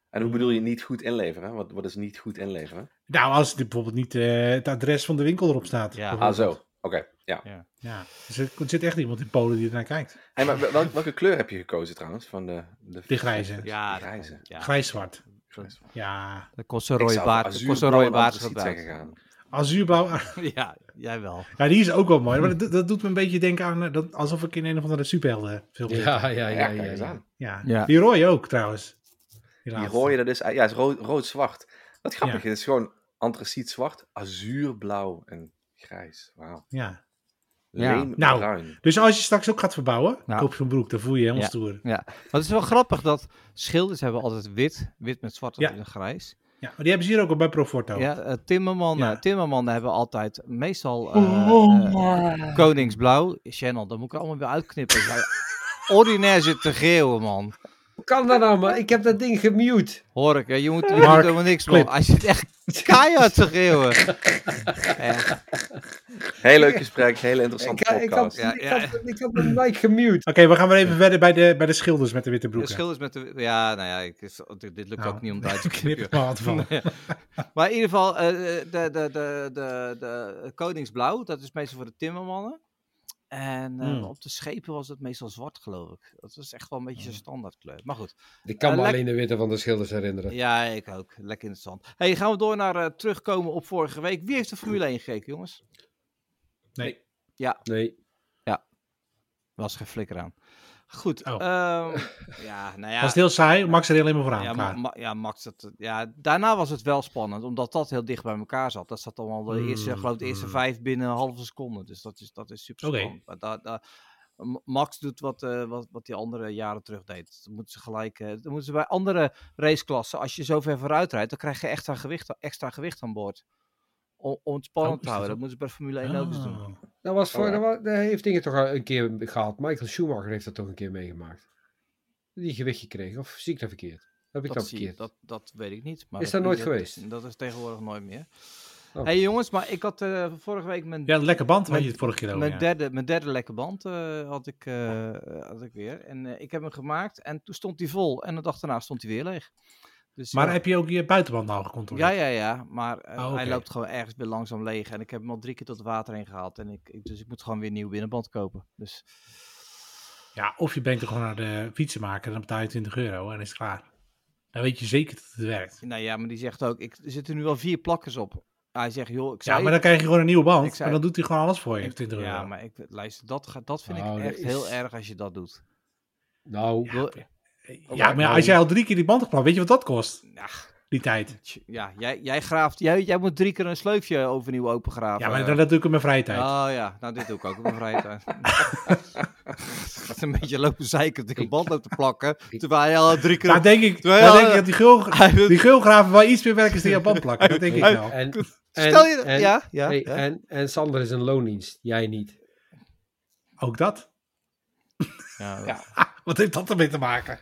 C: En hoe bedoel je niet goed inleveren? hè? Wat, wat is niet goed inleveren?
B: Nou, als dit bijvoorbeeld niet eh, het adres van de winkel erop staat.
A: Ja.
C: Ah,
B: bijvoorbeeld.
C: zo. Oké, ja.
B: Ja. Er zit, er zit echt iemand in Polen die ernaar kijkt.
C: Hey, maar wel- welke kleur heb je gekozen trouwens? Van de, de,
B: De grijze.
A: Ja,
C: De grijze.
A: Ja.
B: Grijs-zwart.
C: Grijs.
B: Ja.
A: Dat kost een
C: Ik
A: rode
C: zou
A: baard. Dat
C: azuurblauw
A: kost een rode
C: en
A: baard
C: antraciet zijn
A: gebruikt.
C: gegaan.
B: Azuurblauw. Ah,
A: Ja, jij wel.
B: Ja, die is ook wel mooi. Maar dat, dat doet me een beetje denken aan eh, dat, alsof ik in een of andere superheldenfilm zit.
D: Ja, ja,
C: Ja,
D: ja.
C: kijk
D: ja,
C: eens
D: ja.
C: aan.
B: Ja.
A: Ja.
B: Die rooi ook trouwens.
C: Die
B: laatste.
C: rode, dat is, ja, is rood- rood-zwart. dat grappige
B: Ja.
C: is gewoon antraciet-zwart, azuurblauw en grijs. Wauw.
B: Ja.
A: Ja.
B: Nou.
C: Leembruin.
B: Dus als je straks ook gaat verbouwen,
A: Ja.
C: Nou.
B: koop zo'n broek, dan voel je je helemaal
A: Ja.
B: stoer.
A: Maar het is wel grappig dat schilders hebben altijd wit. Wit met zwart
B: Ja.
A: en grijs.
B: Ja, maar die hebben ze hier ook al bij Proforto.
A: Ja, eh, timmermannen,
B: Ja.
A: timmermannen hebben altijd meestal eh,
B: Oh,
A: eh, koningsblauw. Channel, dat moet ik er allemaal weer uitknippen. Jij Ordinair zit te geeuwen, man.
D: Hoe kan dat nou, man? Ik heb dat ding gemute.
A: Hoor ik, hè, je moet, je
B: Mark,
A: moet helemaal niks, man.
B: clip.
A: Hij zit echt keihard te geeuwen. Echt.
C: Heel leuk gesprek, hele interessante
D: Ik, ik, had,
C: podcast.
A: Ja,
D: ik,
A: ja.
D: had, ik had mijn mic gemute.
B: Oké, we gaan weer even verder bij de, bij de schilders met de witte
A: De
B: broeken.
A: schilders met de... Ja, nou ja, ik, is- dit lukt
B: Nou,
A: ook niet om het uit te
B: Knip
A: knippen.
B: het maar aan het vallen.
A: Maar in ieder geval, eh, de, de, de, de, de, de Koningsblauw, dat is meestal voor de timmermannen. En eh,
B: Hmm.
A: op de schepen was het meestal zwart, geloof ik. Dat was echt wel een beetje een
B: Hmm.
A: standaardkleur. Maar goed,
D: Ik kan
A: Eh,
D: me
A: lek-
D: alleen de witte van de schilders herinneren.
A: ja, ik ook. Lekker interessant. hey, gaan we door naar eh, terugkomen op vorige week. Wie heeft de Formule 1 gekeken, jongens?
B: Nee.
D: Nee.
A: Was geen flikker aan. Goed.
B: Oh.
A: ehm, ja, nou ja.
B: Was het heel saai? Max er alleen maar voor aan.
A: ja,
B: klaar.
A: Ma- Ma- ja, Max, dat, eh, ja, daarna was het wel spannend, omdat dat heel dicht bij elkaar zat. Dat zat allemaal de eerste,
B: Mm,
A: geloof ik, de eerste
B: mm.
A: vijf binnen een halve seconde. Dus dat is, dat is super
B: Oké.
A: spannend. Maar daar- daar- M- Max doet wat, eh, wat, wat die andere jaren terug deed. Dan moeten ze gelijk, eh, dan moeten ze bij andere raceklassen, als je zo ver vooruit rijdt, dan krijg je extra gewicht, extra gewicht aan boord. Om, om het spannend
B: Oh,
A: te
B: is dat
A: houden.
B: zo?
A: Dat moeten ze bij Formule 1 ook eens doen.
B: Oh.
D: Dat, was voor,
C: Oh, ja.
D: dat, wa- dat heeft dingen toch een keer gehad. Michael Schumacher heeft dat toch een keer meegemaakt. Die gewicht gekregen. Of zie ik dat verkeerd? Heb ik dat,
A: Dat, zie,
D: verkeerd?
A: ik- dat, dat weet ik niet. Maar
D: Is dat nooit
A: is-
D: geweest?
A: Dat is tegenwoordig nooit meer.
D: Oh.
A: hey, jongens, maar ik had eh, vorige week mijn
B: Ja, lekker band had
A: Mijn-
B: je het vorige keer over.
A: Mijn,
B: ja.
A: derde, mijn derde lekke band eh, had, ik, eh, had ik weer. En eh, ik heb hem gemaakt. En toen stond hij vol. En de dag daarna stond hij weer leeg. Dus,
B: Maar
A: ja.
B: heb je ook je buitenband nou gecontroleerd?
A: Ja, ja, ja. Maar eh,
B: Oh,
A: hij
B: oké.
A: loopt gewoon ergens weer langzaam leeg. En ik heb hem al drie keer tot het water heen gehaald. En ik, ik- dus ik moet gewoon weer een nieuw binnenband kopen. Dus
B: Ja, of je brengt er gewoon naar de fietsenmaker, dan betaal je 20 euro en is het klaar. Dan weet je zeker dat het werkt.
A: Nou ja, maar die zegt ook, ik, er zitten nu al vier plakkers op. Hij zegt, joh, ik zei
B: Ja, maar dan
A: het.
B: krijg je gewoon een nieuwe
A: Ik
B: band.
A: zei-
B: En dan doet hij gewoon alles voor je.
A: Ik-
B: 20 euro.
A: Ja, maar ik, luister, dat, ga- dat vind
D: Nou,
A: ik
D: dat
A: echt heel
D: is-
A: erg als je dat doet.
D: Nou,
A: Ik wil-
B: ja, maar ja, als jij al drie keer die band hebt geplakt, weet je wat dat kost?
A: Ja,
B: Die tijd.
A: tj- ja jij, jij graaft, jij, jij moet drie keer een sleufje overnieuw opengraven.
B: Ja, maar dat, dat doe ik in mijn vrije tijd.
A: Oh ja, nou dit doe ik ook op mijn vrije tijd. Gaat een beetje lopen zeiken dat ik een band loop te plakken, terwijl hij al drie keer...
B: maar denk ik,
A: Terwijl-
B: maar denk ik dat die, gul,
A: Hij wil-
B: die geulgraven wel iets meer werk is dan Japan plakken. Dat denk ik
D: hey,
B: nou.
D: En,
A: Stel je...
D: en- en-
A: ja, ja.
D: hey,
A: ja.
D: en, en Sander is een loondienst, jij niet.
B: Ook dat.
A: Ja,
B: Wat heeft dat ermee te maken?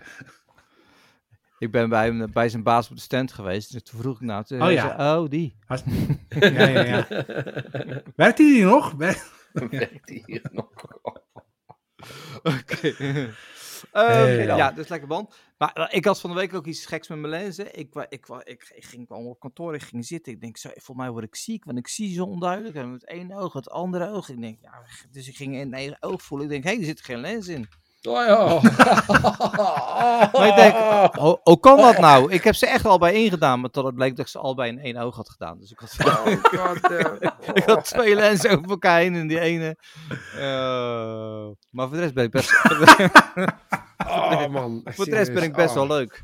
A: Ik ben bij, hem, bij zijn baas op de stand geweest. en Toen vroeg ik nou, toen
B: Oh,
A: hij
B: ja.
A: zei, oh die.
B: Als- ja, ja, ja. Werkt hij hier nog? Wer-
C: Werkt die hier nog?
A: Oké. Ehm,
B: Hey.
A: ja, dus lekker band. Maar eh, ik had van de week ook iets geks met mijn lenzen. Ik, wa- ik, wa- ik, ik ging gewoon op kantoor, ik ging zitten. Ik denk, zo, volgens mij word ik ziek, want ik zie zo onduidelijk. En met één oog, het andere oog. Ik denk, ja, dus ik ging in één oog voelen. Ik denk, hé, hey, er zit geen lens in.
D: Oh ja.
A: Maar ik denk, hoe, hoe kan dat nou? Ik heb ze echt al bij één gedaan, maar totdat bleek dat ik ze al bij in één oog had gedaan. Dus ik had, ik had twee lenzen over elkaar heen en die ene. Eh, maar voor de rest ben ik best,
D: Oh man.
A: voor de rest ben ik best wel
D: Oh.
A: eh, leuk.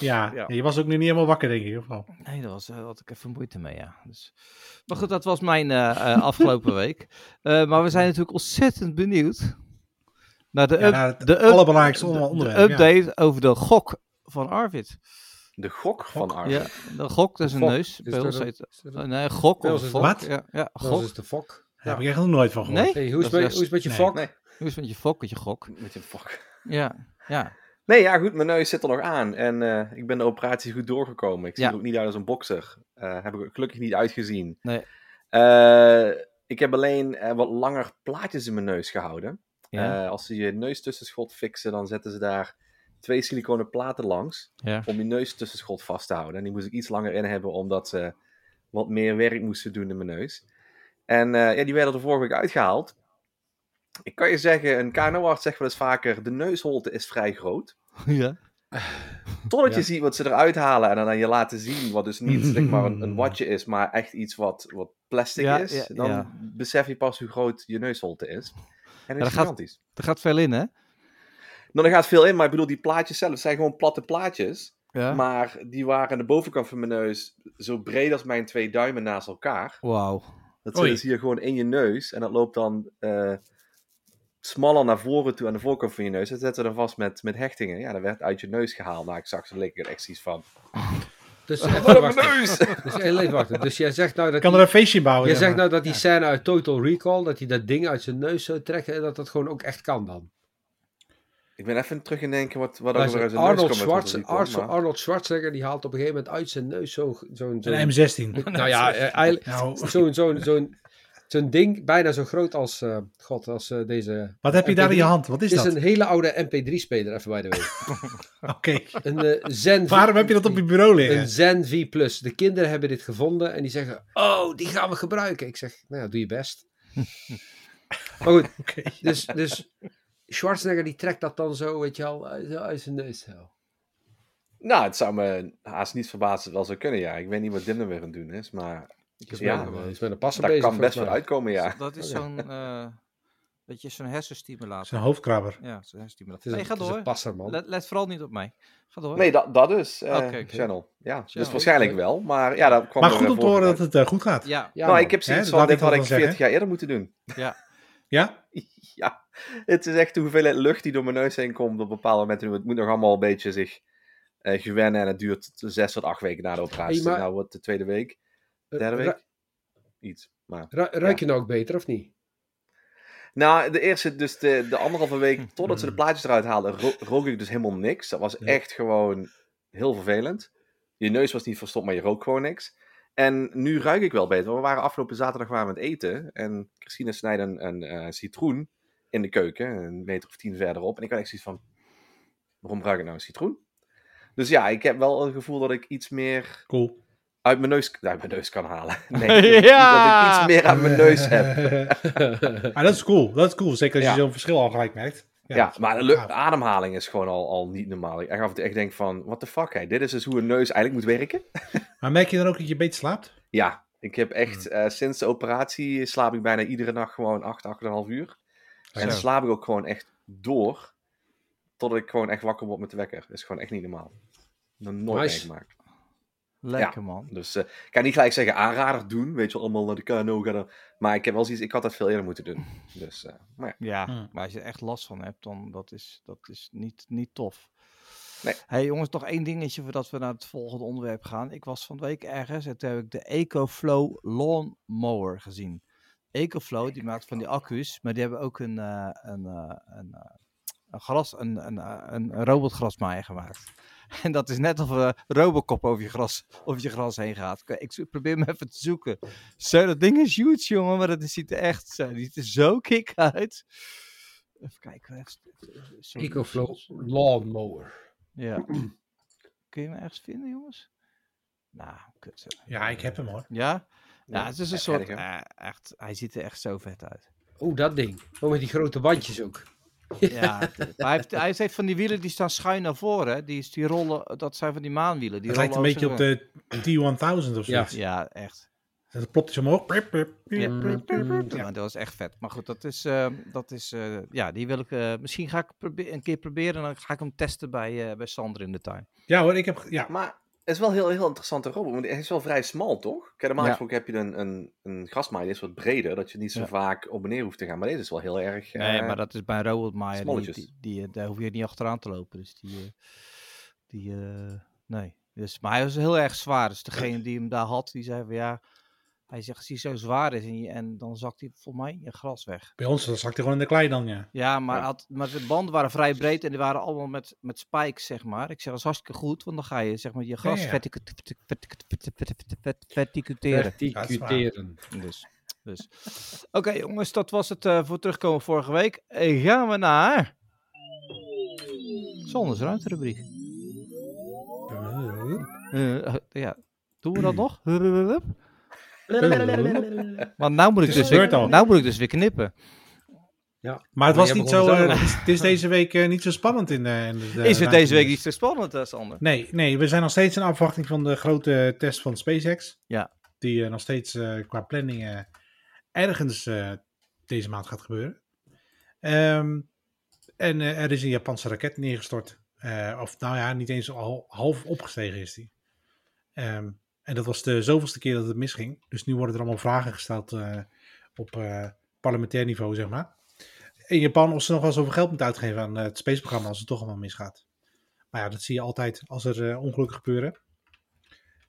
B: Ja.
A: Ja.
B: ja, je was ook nu niet helemaal wakker, denk ik. Of wel?
A: Nee, daar was, eh, had ik even moeite mee, ja. Dus... Maar goed, dat was mijn eh, eh, afgelopen week. Eh, maar we zijn natuurlijk ontzettend benieuwd naar de,
B: Ja,
A: up-
B: nou, het
A: de, up-
B: allerbelangrijkste onder-
A: de
B: onderwerp. ja.
A: update over de gok van Arvid.
C: De gok van Arvid.
A: Ja, de gok, dat is een
D: Gok.
A: neus.
D: Is
A: Bij
D: dat
A: ons
D: een-
A: heet-
D: is dat
A: eh,
D: een-
A: Nee, gok
D: Bij
A: of
D: ons is
A: gok.
B: dat- Wat?
A: Ja, ja,
D: Dat
A: gok.
D: is de fok.
B: Daar heb ik echt nog nooit van gehoord.
A: Nee?
D: Hey, hoe, is
A: Dat
D: het
A: is
D: met- hoe is het met je
B: Nee.
D: fok?
C: Nee.
A: Hoe is het met je fok, met je gok?
C: Met je fuck.
A: Ja, ja.
C: Nee, ja, goed. Mijn neus zit er nog aan. En eh, ik ben de operatie goed doorgekomen. Ik zie
A: Ja.
C: er ook niet uit als een bokser. Eh, heb ik ook gelukkig niet uitgezien.
A: Nee.
C: Eh, ik heb alleen eh, wat langer plaatjes in mijn neus gehouden.
A: Ja,
C: Eh, als ze je neustussenschot fixen, dan zetten ze daar twee siliconen platen langs
A: ja.
C: om je neustussenschot vast te houden. En die moest ik iets langer in hebben, omdat ze wat meer werk moesten doen in mijn neus. En eh, ja, die werden er vorige week uitgehaald. Ik kan je zeggen, een KNO-arts zegt wel eens vaker, de neusholte is vrij groot.
A: ja.
C: Totdat je
D: Ja.
C: ziet wat ze eruit halen en dan aan je laten zien, wat dus niet zeg maar een, een watje is, maar echt iets wat, wat plastic
A: Ja,
C: is.
A: ja,
C: dan
A: ja.
C: besef je pas hoe groot je neusholte is. En dat
A: dat
C: is
A: gaat-
C: gigantisch.
A: Er gaat veel in, hè?
C: Nou, er gaat veel in, maar ik bedoel, die plaatjes zelf zijn gewoon platte plaatjes.
A: Ja.
C: Maar die waren aan de bovenkant van mijn neus zo breed als mijn twee duimen naast elkaar.
A: Wauw.
C: Dat
B: Oei.
C: zit dus hier gewoon in je neus. En dat loopt dan eh, smaller naar voren toe aan de voorkant van je neus. Dat zetten we dan vast met, met hechtingen. Ja, dat werd uit je neus gehaald. Nou, ik zag ze lekker echt zoiets van.
D: Dus, even
C: Wat op mijn
D: wachten.
C: neus!
D: dus heel even wachten. Dus jij zegt nou dat
B: Ik kan er
D: die-
B: een feestje bouwen.
D: jij
B: Oh, ja,
D: zegt
B: maar.
D: nou dat die scène uit Total Recall, dat hij dat ding uit zijn neus zou trekken en dat dat gewoon ook echt kan dan.
C: ik ben even terug in denken wat, wat ook
D: Maar
C: weer uit zijn neus
D: Arnold,
C: komt.
D: Schwarz, Arnold,
C: maar...
D: Arnold Schwarzenegger die haalt op een gegeven moment uit zijn neus zo'n... zo'n zo'n-
B: Een M16.
D: nou ja, eh, eigenlijk
B: Nou,
D: zo'n zo'n zo'n zo'n ding bijna zo groot als, eh, god, als eh, deze...
B: wat heb je daar in je
D: MP3?
B: hand? Wat is
D: Het is
B: dat?
D: een hele oude MP3-speler, even bij de way.
B: Oké.
D: Een eh, Zen...
B: Waarom heb je dat op je bureau
D: Een
B: liggen?
D: Zen V+. De kinderen hebben dit gevonden en die zeggen, oh, die gaan we gebruiken. Ik zeg, nou ja, doe je best. maar goed,
B: Oké.
D: dus, dus Schwarzenegger die trekt dat dan zo, weet je al, uit, zo uit zijn neus. Zo.
C: Nou, het zou me haast niet verbazen als het wel zou kunnen, ja. Ik weet niet wat Dim er weer aan het doen is, maar
D: Is
C: Ja,
D: met, een- is met een passer
C: daar
D: bezig.
C: kan best
D: volgens
C: voor uitkomen,
D: mij.
C: ja.
A: Dus Dat is zo'n... eh dat je zo'n hersenstimulator.
B: Zijn hoofdkrabber.
A: Ja, zo'n
D: Het is
A: hersenstimulator.
D: een,
A: Nee, ga
D: het is een
A: door.
D: passer, man.
A: Let, let vooral niet op mij. Ga door.
C: Nee, dat, dat is eh,
A: Oké, oké.
C: Channel. Ja, dus
A: Channel.
C: waarschijnlijk
D: Oké.
C: wel. Maar ja, dat kwam
B: Maar
C: er
B: goed om te
C: vorige
B: horen
C: uit.
B: dat het eh, goed gaat.
A: Ja,
D: Ja,
C: nou,
D: man.
C: ik heb zoiets
B: Hè, dat
C: van,
B: laat
C: dit
B: ik
C: had
B: dan
C: ik
B: wel
C: 40
B: zeggen.
C: jaar eerder moeten doen.
B: Ja?
C: Ja, het is echt de hoeveelheid lucht die door mijn neus heen komt op bepaalde momenten. Het moet nog allemaal een beetje zich eh, gewennen en het duurt zes tot acht weken na de operatie.
D: Hey, maar-
C: Nou, wat de tweede week,
A: Eh,
C: derde
D: Ru-
C: week? Iets. Maar...
D: Eh, ru- ruik je nou ook beter, of niet?
C: Nou, de eerste, dus de, de anderhalve week, totdat ze de plaatjes eruit haalden, ro- rook ik dus helemaal niks. Dat was
B: Ja.
C: echt gewoon heel vervelend. Je neus was niet verstopt, maar je rook gewoon niks. En nu ruik ik wel beter. want We waren afgelopen zaterdag waren we aan het eten. En Christine snijdt een, een eh, citroen in de keuken, een meter of tien verderop. En ik had echt zoiets van, waarom ruik ik nou een citroen? Dus ja, ik heb wel een gevoel dat ik iets meer
B: Cool.
C: uit mijn neus, uit mijn neus kan halen. Nee, dat ik iets meer aan mijn neus heb.
B: Maar Ah, dat is cool. Dat is cool. Zeker als
C: Ja.
B: je zo'n verschil al gelijk merkt. Ah,
C: Ja, maar de lu- de ademhaling is gewoon al, al niet normaal. Ik, echt af en toe echt denk van, what the fuck, hè? dit is dus hoe een neus eigenlijk moet werken.
B: Maar merk je dan ook dat je beter slaapt?
C: Ja, ik heb echt, eh, sinds de operatie slaap ik bijna iedere nacht gewoon 8, 8,5 uur. En
B: Zo.
C: slaap ik ook gewoon echt door, totdat ik gewoon echt wakker word met de wekker. Dat is gewoon echt niet normaal. Nog nooit
D: Nice.
C: meegemaakt.
A: Lekker man.
C: Dus eh, ik kan niet gelijk zeggen aanrader doen, weet je wel, allemaal naar de KNO gaan. Maar ik heb wel zoiets, ik had dat veel eerder moeten doen. Dus, eh, maar ja.
A: Ja,
B: Hmm.
A: maar als je er echt last van hebt, dan dat is dat is niet, niet tof.
C: Nee.
A: hey, jongens, nog één dingetje voordat we naar het volgende onderwerp gaan. Ik was van de week ergens en toen heb ik de EcoFlow Lawnmower gezien. EcoFlow, die maakt van die accu's, maar die hebben ook een, eh, een, eh, een, eh, een gras, een, een, eh, een, een robotgrasmaaier gemaakt. En dat is net of een robocop over je, gras, over je gras heen gaat. Ik- Ik probeer me even te zoeken. Zo, dat ding is huge, jongen, maar dat ziet er echt zo, die ziet er zo kick uit. Even kijken. Echt, sorry. dus,
D: EcoFlow Lawnmower.
A: Ja. Kun je hem ergens vinden, jongens? Nou, kut. zeg.
B: Ja, ik heb hem hoor.
A: Ja? Ja,
C: Ja,
A: het is een
C: e- erg,
A: soort...
C: hè?
A: eh, echt, hij ziet er echt zo vet uit.
D: Oh, dat ding. Oh, met die grote bandjes ook.
A: Ja, maar hij heeft, hij heeft van die wielen die staan schuin naar voren. hè. Die, is- die rollen, dat zijn van die maanwielen. Die
B: Het lijkt een
A: rollen
B: beetje op
A: over-
B: de T1000 of zoiets.
A: Ja, echt.
B: Dat plopt dus omhoog. Prip, prip, prip.
A: Ja.
B: Ja.
A: Maar dat was echt vet. Maar goed, dat is... eh, dat is eh, ja, die wil ik... eh, misschien ga ik probe- een keer proberen en dan ga ik hem testen bij, eh, bij Sander in de tuin.
B: Ja hoor, ik heb... Ja,
C: Maar het is wel een heel, heel interessante robot, want hij is wel vrij smal, toch? Kijk, normaal
A: Ja.
C: gesproken heb je een, een, een grasmaaier, die is wat breder, dat je niet zo
A: Ja.
C: vaak op en neer hoeft te gaan. Maar deze is wel heel erg... eh,
A: Nee, maar dat is bij een robotmaaier. Die,
C: Smolletjes.
A: die, die, eh, daar hoef je niet achteraan te lopen. Dus die. eh, die eh, nee. Dus, maar hij was heel erg zwaar. Dus degene die hem daar had, die zei van ja. Hij zegt, als hij zo zwaar is en, je, en dan zakt hij volgens mij in je gras weg.
B: bij ons dan zakt hij gewoon in de klei dan, ja.
A: Ja, maar,
C: Ja.
A: Had, maar de banden waren vrij breed en die waren allemaal met, met spikes, zeg maar. Ik zeg, dat is hartstikke goed, want dan ga je zeg maar, je gras
B: ja.
A: verticut- verticut- verticut- verticut- verticuteren.
D: Verticuteren.
A: Dus, dus. Oké jongens, dat was het eh, voor terugkomen vorige week. Eh, gaan we naar... Sander's ruimterubriek. Eh, eh, ja, doen we dat nog? Hup. Want nou moet ik
B: Het is
A: dus weer,
B: gebeurd al.
A: nou moet ik dus weer knippen.
B: Maar het
D: Maar
B: was
D: jij
B: niet
D: begon
B: zo...
D: het
B: eh,
D: ook.
B: het, is, het is deze week eh, niet zo spannend in de... eh, in de-
A: Is
B: de-
A: het deze week niet zo spannend, eh, Sander?
B: Nee, nee, we zijn nog steeds in afwachting van de grote test van SpaceX.
A: Ja.
B: Die eh, nog steeds eh, qua planning eh, ergens eh, deze maand gaat gebeuren. Ehm, en eh, er is een Japanse raket neergestort. Eh, of nou ja, niet eens al half opgestegen is die. Ehm, en dat was de zoveelste keer dat het misging. Dus nu worden er allemaal vragen gesteld eh, op eh, parlementair niveau, zeg maar. In Japan of ze nog wel zoveel geld moeten uitgeven aan eh, het spaceprogramma als het toch allemaal misgaat. Maar ja, dat zie je altijd als er eh, ongelukken gebeuren.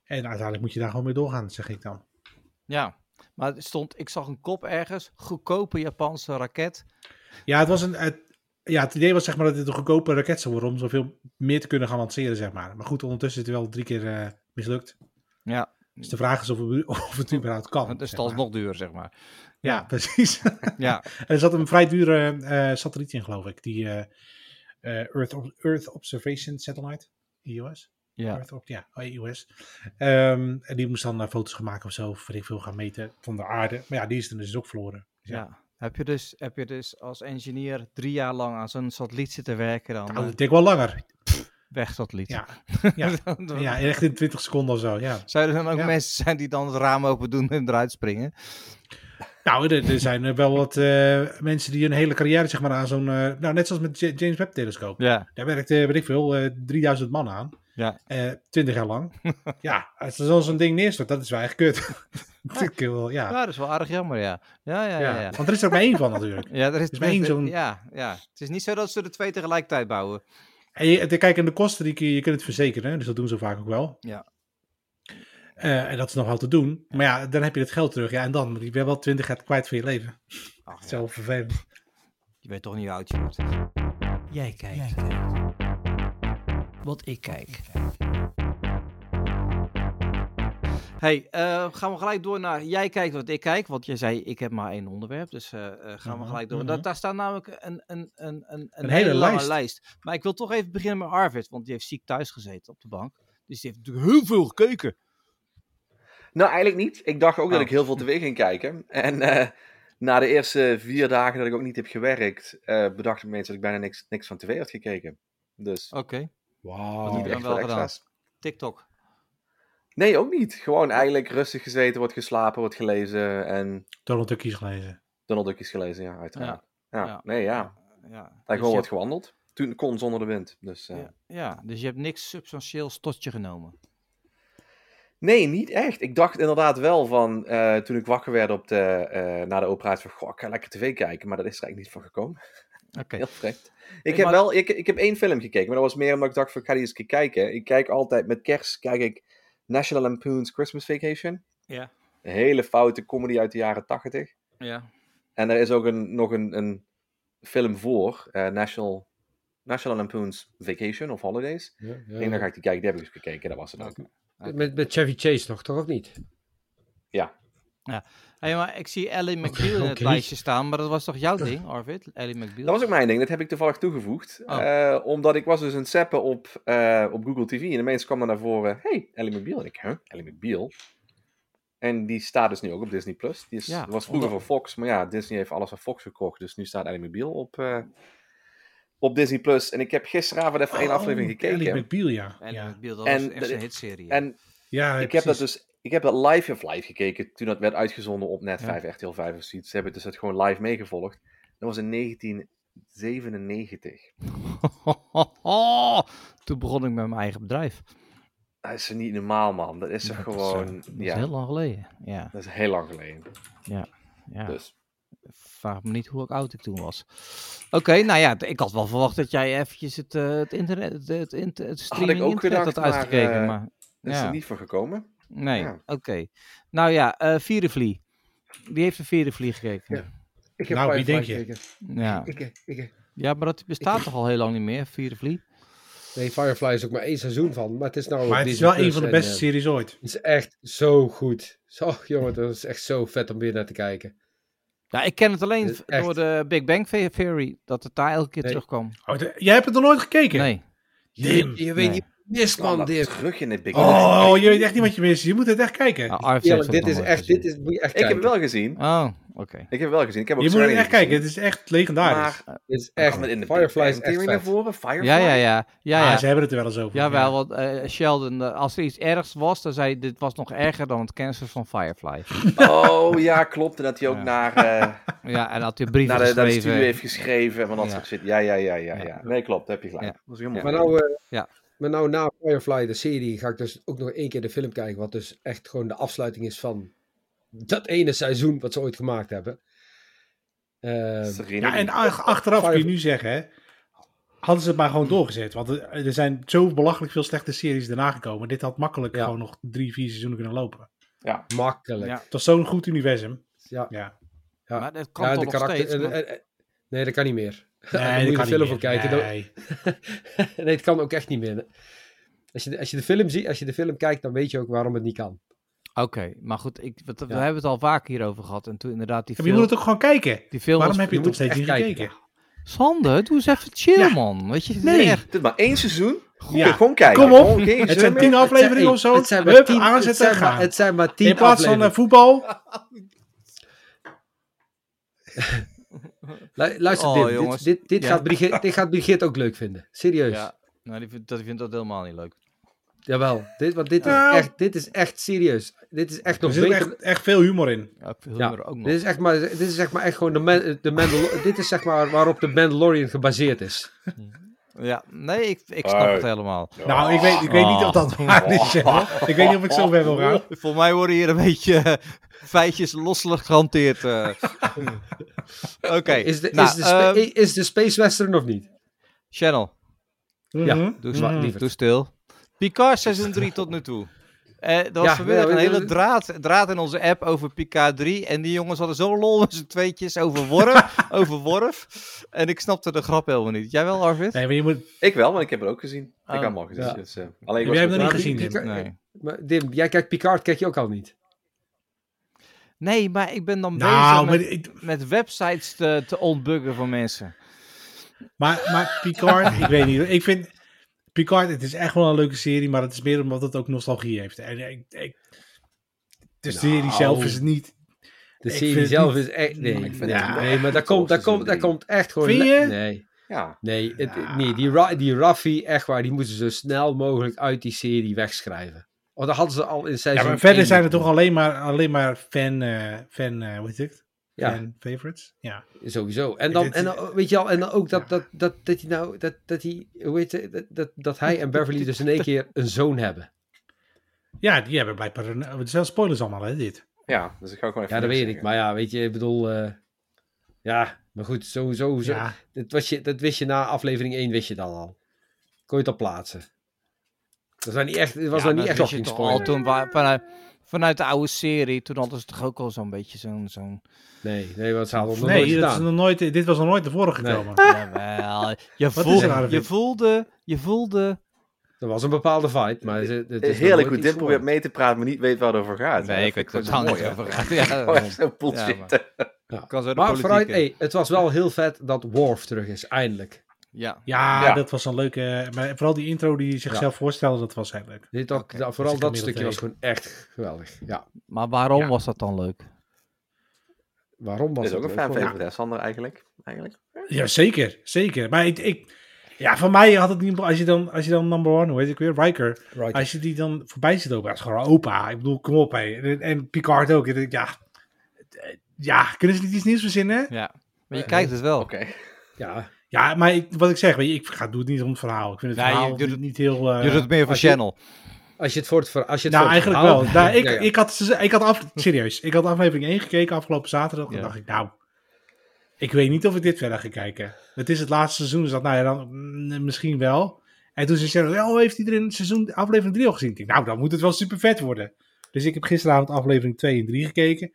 B: En uiteindelijk moet je daar gewoon mee doorgaan, zeg ik dan.
A: Ja. Maar het stond, ik zag een kop ergens, goedkope Japanse raket.
B: Ja, het, was een, het- ja, het idee was zeg maar dat dit een goedkope raket zou worden om zoveel meer te kunnen gaan lanceren, zeg maar. Maar goed, ondertussen is het wel drie keer eh, mislukt.
A: Ja.
B: Dus de vraag is of, het- of het überhaupt kan.
A: Want het Dus is
B: Oh, zeg
A: alsnog
B: maar.
A: nog duur, zeg maar.
B: Ja, precies.
A: Ja.
B: En er zat een vrij dure eh, satelliet in, geloof ik. Die eh, eh, Earth, Ob- Earth Observation Satellite, EOS.
A: Ja.
B: Earth Orbit, ja, EOS. Ehm, en die moest dan eh, foto's gaan maken of zo, of weet ik veel, gaan meten van de aarde. Maar ja, die is dan dus ook verloren. Dus ja,
A: ja. Heb, je dus, heb je dus als engineer drie jaar lang aan zo'n satelliet zitten werken dan?
B: Nou,
A: eh,
B: dat denk wel langer.
A: Weg satelliet.
B: Ja, ja,
A: Dan- dan-
B: ja, echt in 20 seconden of zo, ja.
A: Zou er dan ook
B: Ja.
A: mensen zijn die dan het raam open doen en eruit springen?
B: Nou, er, er zijn eh, wel wat eh, mensen die hun hele carrière, zeg maar, aan zo'n... eh, nou, net zoals met J- James Webb-telescoop.
A: Ja.
B: Daar werkte, weet ik veel, eh, 3000 man aan.
A: Ja.
B: Eh, 20 jaar lang. ja, als er zo'n- zo'n ding neerstort, dat is wel echt kut. Dat vind ik wel, ja.
A: ja, dat is wel aardig jammer, ja. Ja, ja, ja.
B: ja.
A: ja.
B: Want er is er maar één van natuurlijk.
A: Ja, er is,
B: is maar één zo'n-
A: Ja, ja, het is niet zo dat ze er twee tegelijkertijd bouwen.
B: En je, de- kijk, en de kosten, die, kun je je kunt het verzekeren. hè, Dus dat doen ze vaak ook wel.
A: Ja.
B: Eh, en dat is nog wel te doen. Maar ja, dan heb je het geld terug. Ja, en dan? Want Je bent wel 20 jaar kwijt van je leven.
A: Ach, ja,
B: Zo vervelend.
A: je weet toch niet hoe oud je wordt. Jij kijkt. Wat ik kijk. hey, eh, gaan we gelijk door naar jij kijkt wat ik kijk. Want jij zei ik heb maar één onderwerp. Dus eh, eh, gaan we
B: Mhm,
A: gelijk door.
B: mhm.
A: Daar, daar staat namelijk een, een, een, een,
B: Een hele
A: lange
B: lijst.
A: lijst. Maar ik wil toch even beginnen met Arvid. Want die heeft ziek thuis gezeten op de bank. Dus die heeft natuurlijk heel veel gekeken.
C: Nou, eigenlijk niet. Ik dacht ook dat
A: Oh.
C: ik heel veel tv ging kijken. En eh, na de eerste vier dagen dat ik ook niet heb gewerkt, eh, bedacht ik me eens dat ik bijna niks, niks van tv had gekeken. Dus
A: Oké,
D: Wauw.
A: niet
C: niet
A: dan
C: echt
A: wel
C: wel
A: gedaan.
C: extra's.
A: TikTok.
C: Nee, ook niet. Gewoon eigenlijk rustig gezeten, wordt geslapen, wordt gelezen en
B: Donald Duck is gelezen.
C: Donald Duck is gelezen, ja, uiteraard. Ja,
A: ja.
C: nee, ja. En
A: Ja. Dus
C: gewoon
A: je
C: wordt
A: hebt-
C: gewandeld. Toen kon zonder de wind. Dus, eh,
A: ja, ja, dus je hebt niks substantieels tot je genomen.
C: Nee, niet echt. Ik dacht inderdaad wel van, eh, toen ik wakker werd op de, eh, na de operatie, van, goh, ik ga lekker tv kijken. Maar dat is er eigenlijk niet van gekomen.
A: Oké.
C: Heel vreemd. Ik
A: Hey,
C: heb
A: maar-
C: wel, ik, ik heb één film gekeken, maar dat was meer omdat ik dacht van, ik ga die eens een keer kijken. Ik kijk altijd, met kerst kijk ik National Lampoon's Christmas Vacation.
A: Ja.
C: Een hele foute comedy uit de jaren tachtig.
A: Ja.
C: En er is ook een, nog een, een film voor, eh, National, National Lampoon's Vacation of Holidays.
D: Ja,
C: Ik
D: ja.
C: denk, dan ga ik die kijken. Die heb ik eens gekeken, dat was het ook.
D: Met, met Chevy Chase nog, toch ook niet?
A: Hey, maar ik zie Ellie McBeal in het
B: Oké.
A: lijstje staan, maar dat was toch jouw ding, Arvid? Ellie McBeal?
C: Dat was ook mijn ding, dat heb ik toevallig toegevoegd.
A: Oh.
C: eh, omdat ik was dus aan het zappen op, eh, op Google TV en ineens kwam er naar voren, hey, Ellie McBeal. En ik, huh, Ellie McBeal? En die staat dus nu ook op Disney+. Plus. Die is,
A: Ja,
C: was vroeger
A: omdat-
C: voor Fox, maar ja, Disney heeft alles van Fox gekocht. Dus nu staat Ellie McBeal op, eh, op Disney+. Plus. En ik heb gisteravond even
A: Oh,
C: één aflevering gekeken.
B: Oh, Ellie McBeal, ja.
A: Ellie
B: ja.
A: McBeal, dat was
C: En
A: echt
C: de-
A: een hitserie. hè?
C: En
B: Ja,
C: ik heb dat
B: precies.
C: dus, ik heb dat live in live gekeken toen dat werd uitgezonden op Net
A: Ja.
C: 5, RTL 5 of zoiets. Ze hebben dus dat gewoon live meegevolgd. Dat was in 1997.
A: Toen begon ik met mijn eigen bedrijf.
C: Dat is niet normaal, man. Dat is toch
A: Dat is, eh,
C: gewoon,
A: Dat is
C: ja,
A: heel lang geleden. Ja,
C: dat is heel lang geleden.
A: ja.
C: Dus,
A: Vraag me niet hoe oud ik toen was. Oké, nou ja, ik had wel verwacht dat jij eventjes het, eh, het internet, het, het, int- het streaming
C: ook
A: internet
C: gedacht,
A: had
C: maar,
A: uitgekeken. Maar,
C: eh, dat is
A: Ja.
C: er niet voor gekomen.
A: nee,
C: ja.
A: oké. Nou ja, eh Vierenvlie. Wie heeft de Vierenvlie gekeken? Ja.
D: Ja. Ik heb
B: Nou, wie
D: Firefly
B: denk
D: gekeken.
A: Ja.
D: Ik, eh. ik,
A: maar dat bestaat toch al heel lang niet meer, Vierenvlie?
D: nee, Firefly is ook maar één seizoen van, maar het is nou
C: dus-
D: op
B: Maar het is
D: Disney
B: wel een
D: Plus
B: van de
D: en,
B: beste
D: eh,
B: series ooit.
D: Het is echt zo goed. Zo, jongen, dat is echt zo vet om weer naar te kijken.
A: Ja, ik ken het alleen
D: Dit is
A: v-
D: Eh, echt-
A: door de Big Bang The- Theory, dat het daar elke keer
D: Nee.
A: terugkwam.
B: Oh, de- jij hebt het nog nooit gekeken?
A: Nee.
B: Dim.
D: Je, je
A: Nee.
D: weet niet wat je mist,
C: Kwam
D: man,
C: Nou, dat
D: dit.
C: terug in het Big Bang.
B: Oh, je weet echt niet wat je mist. Je moet het echt kijken.
A: Nou, Arvid heeft
D: Eerlijk,
A: het
D: dit
A: nog
D: is
A: nooit
D: echt,
A: gezien.
D: dit is, moet je echt
C: Ik heb
D: kijken.
C: hem wel gezien.
A: Oh, oké.
C: Ik heb hem wel gezien. Ik heb ook
B: je moet het
C: Serenity
B: echt kijken.
C: gezien.
B: Het is echt legendarisch.
C: Maar
D: Dit is
C: echt,
D: echt,
C: in de
D: Firefly
C: Firefly
D: is echt
C: naar
D: vet.
C: voren. Firefly?
A: Ja, ja, ja. ja,
B: Ah,
A: ja.
B: ze hebben het er wel eens over.
A: Jawel, want eh, Sheldon, eh, als er iets ergs was, dan zei hij, dit was nog erger dan het cancer van Firefly.
C: Oh ja, klopt. En dat hij ook
A: Ja.
C: naar, eh,
A: ja, en had hij brieven
C: naar, de,
D: Nou,
C: naar de
A: geschreven.
C: studio heeft geschreven. Van dat
A: Ja.
C: soort shit. Ja, ja, ja, ja,
A: Ja.
C: ja. Nee, klopt. Daar heb je gelijk.
A: Ja.
C: Dat was helemaal
D: Maar
C: goed.
D: nou, eh,
A: Ja.
D: maar nou na Firefly, de serie, ga ik dus ook nog één keer de film kijken. Wat dus echt gewoon de afsluiting is van dat ene seizoen wat ze ooit gemaakt hebben. Eh,
C: Serenity.
B: Ja, en ach- achteraf kun je nu zeggen, hè, hadden ze het maar gewoon doorgezet. Want er- er zijn zo belachelijk veel slechte series daarna gekomen. Dit had makkelijk
D: Ja.
B: gewoon nog drie, vier seizoenen kunnen lopen.
D: makkelijk.
A: Ja.
D: Ja,
B: Het was zo'n goed universum.
D: ja.
B: Ja.
A: Maar dat kan
D: de
A: toch nog
D: karakter-
A: steeds?
D: eh,
A: want-
D: eh, eh, nee, dat kan niet meer.
B: Nee,
D: Daar
B: dat
D: moet je
B: kan
D: de film
B: niet
D: voor
B: meer.
D: kijken. dan-
B: Nee.
D: nee, het kan ook echt niet meer. Als je, de- als, je de film ziet, als je de film kijkt, dan weet je ook waarom het niet kan.
A: Oké, maar goed, ik, we, we
D: eh, Ja.
A: hebben het al vaak hierover gehad. En toen inderdaad die
B: Ja, maar
A: film...
B: je moet het ook gewoon kijken.
A: die film
B: Waarom
A: was-
B: heb je het
D: je
B: nog
D: moet
B: steeds niet
D: echt
B: gekeken?
A: Sander, doe eens even chill,
B: Ja.
A: man. Weet je, dit is
B: Nee.
A: echt-
C: Dit is maar één seizoen.
B: Ja.
C: Gewoon kijken.
B: Kom op.
C: Gewoon geen
B: Het
C: gezeur
B: zijn
C: meer.
B: tien afleveringen of
D: Het zijn-
B: zo.
D: Het zijn maar
B: Hup,
D: tien, het
B: aanzetten en
D: zijn maar,
B: gaan.
D: het zijn maar tien
B: In plaats van eh,
D: afleveringen.
B: voetbal.
D: Lu- Luister,
A: Oh,
D: Dim, dit-
A: jongens.
D: dit, dit,
A: Ja.
D: gaat Brigitte, dit gaat Brigitte ook leuk vinden. Serieus.
A: Ja, nou, die vindt, dat die vindt dat helemaal niet leuk.
D: Jawel, dit, want dit is,
B: Nou.
D: echt, dit is echt serieus. Dit is echt
B: Er
D: nog
B: zit ook
D: beter.
B: echt, echt veel humor in.
A: Ja, ik vind
D: Ja,
A: humor ook nog.
D: Dit is echt maar, dit is echt maar echt gewoon de, Man- de Mandalorian. dit is zeg maar waarop de Mandalorian gebaseerd is.
A: Ja, nee, ik, ik snap
C: Hey.
A: het helemaal.
B: Nou, ik weet, ik weet niet of dat waar is. hè. Ik weet niet of ik zo ver wil gaan.
A: Voor mij worden hier een beetje eh, feitjes losselijk gehanteerd. eh. Oké,
D: Is de,
A: nou,
D: is, de spa-
A: ehm,
D: is de Space Western of niet?
A: Channel.
D: Ja, dus
B: Mhm.
A: Doe,
D: Maar
A: stil.
D: lieverd.
A: doe stil. Picard seizoen 3 tot nu toe. Eh er was
D: Ja,
A: vanmiddag
D: ja,
A: een
D: we-
A: hele
D: we-
A: draad, draad in onze app over Picard 3. En die jongens hadden zo'n lol met z'n tweetjes over Worf, over Worf. En ik snapte de grap helemaal niet. Jij wel, Arvid?
B: Nee, maar je moet...
C: Ik wel, want ik heb het ook gezien. Ik
A: Oh.
C: heb hem al gezien.
D: Ja.
C: Dus, eh, alleen ik
B: Heb jij
C: was
B: Ah. hem nog
C: met-
B: niet gezien, Dim?
D: Picard-
A: Nee.
D: Maar Dim, jij kijkt Picard, kijk je ook al niet.
A: Nee, maar ik ben dan
B: Nou, maar,
A: bezig met,
B: ik-
A: met websites te, te ontbuggen van mensen.
B: maar, maar Picard, ik weet niet. hoor. Ik vind Picard, het is echt wel een leuke serie, maar het is meer omdat Nou, het ook nostalgie heeft. En ik, ik, de serie zelf is niet...
D: De
B: Ik
D: serie
B: vind het
D: zelf
B: niet-
D: is echt... Nee,
B: Ik
C: vind
D: ja,
C: het
D: nee
C: echt
D: maar dat
C: niet zoals
D: komt, dat,
C: seizoen
D: komt, dat
C: drie.
D: komt echt gewoon...
B: Vind
D: le-
B: je?
D: Nee.
C: Ja,
D: Nee, het-
B: Ja.
D: nee die, Ra die Raffi, echt waar, die moeten ze zo snel mogelijk uit die serie wegschrijven. Want dat hadden ze al in seizoen
B: Ja, maar verder
D: één
B: zijn er toch
D: moeten
B: alleen maar, alleen maar fan, eh, fan eh, hoe heet het?
D: Ja.
B: Fan favorites. Ja.
D: doen. Sowieso. En dan,
B: Dit-
D: en dan, weet je al, en dan ook dat,
B: Ja.
D: dat, dat, dat hij nou, dat, dat hij, hoe heet het, dat, dat, dat hij en Beverly dus in één keer een zoon hebben.
B: ja, die hebben blijkbaar, een, het zijn spoilers allemaal hè, dit.
C: ja, dus ik ga gewoon even
D: Ja, dat
C: niks
D: weet ik.
C: zeggen.
D: Maar ja, weet je, ik bedoel, eh, ja, maar goed, sowieso, zo,
B: Ja.
D: dat, was je, dat wist je na aflevering 1, wist je dan al. Kon je dat plaatsen. Dat was dan niet echt, dat was
A: Ja,
D: dan
A: maar
D: niet echt
A: dat
D: nog
A: wist
D: geen
A: je toch al
D: spoiler.
A: toen wa- vanuit, vanuit de oude serie, toen hadden ze toch ook al zo'n beetje zo'n... zo'n
D: Nee, nee, want ze hadden het nog nooit
B: Nee, dat is
D: gedaan.
B: nog nooit, dit was nog nooit naar voren
D: Nee.
B: gekomen.
A: Jawel, je,
B: Wat
A: voel-
B: is er, Arvid?
A: je voelde, je voelde...
D: Er was een bepaalde vibe, maar ze- het is
C: Eh, Heerlijk hoe
D: goed
C: Dim probeert mee te praten, maar niet weet waar het over gaat. Ja, dat vind ik gewoon zo mooi, hè.
A: gaat. Ja,
C: Oh, echt zo'n
A: Ja,
C: bullshit.
A: maar-
D: Ja.
A: kan zo de
D: Maar
A: politiek
D: vooruit,
A: in.
D: hey, het was wel heel vet dat Worf terug is, eindelijk.
A: Ja.
B: Ja,
C: Ja.
B: dat was een leuke. Maar vooral die intro die zichzelf voorstelde, dat was heel leuk.
D: Dit, dat,
A: Oké,
D: dat- vooral
B: dus ik
D: dat
B: kan
D: stukje
B: middel
D: was gewoon echt geweldig. Ja,
A: Maar waarom
B: Ja.
A: was dat dan leuk?
D: waarom was
C: Dat is ook een
D: het leuk?
C: fanfavorit, hè, Sander, eigenlijk. eigenlijk.
B: Ja, zeker. Zeker. Maar ik, ik, ja, voor mij had het niet. Als je dan, als je dan number one, hoe heet ik weer? Riker.
D: Right.
B: Als je die dan voorbij zit, ook, dat is gewoon opa. Ik bedoel, kom op, hé. En, en Picard ook. Ik denk, Ja, eh, ja, kunnen ze niet iets nieuws verzinnen?
A: Ja. Maar je kijkt het wel.
C: Oké.
D: Ja,
B: Ja, maar ik, wat ik zeg, weet je, ik ga, doe het niet om het verhaal. Ik vind het
A: Nee, je
B: verhaal
A: doet
B: niet,
A: het-
B: niet heel. eh,
A: Je doet het meer voor
D: als Ah, je-
A: Channel.
D: als je het voor het ver- als je het
B: nou,
D: voor het
B: eigenlijk
D: verhaal-
B: wel. Nou, ik,
D: Ja, ja.
B: Ik had, ze- ik had af, serieus, ik had aflevering 1 gekeken afgelopen zaterdag. En
A: Ja.
B: dacht ik, nou, ik weet niet of ik dit verder ga kijken. Het is het laatste seizoen, dus dat, nou ja, dan mm, misschien wel. En toen ze zeiden, oh, heeft iedereen seizoen, aflevering 3 al gezien? Ik denk, nou, dan moet het wel super vet worden. Dus ik heb gisteravond aflevering 2 en 3 gekeken.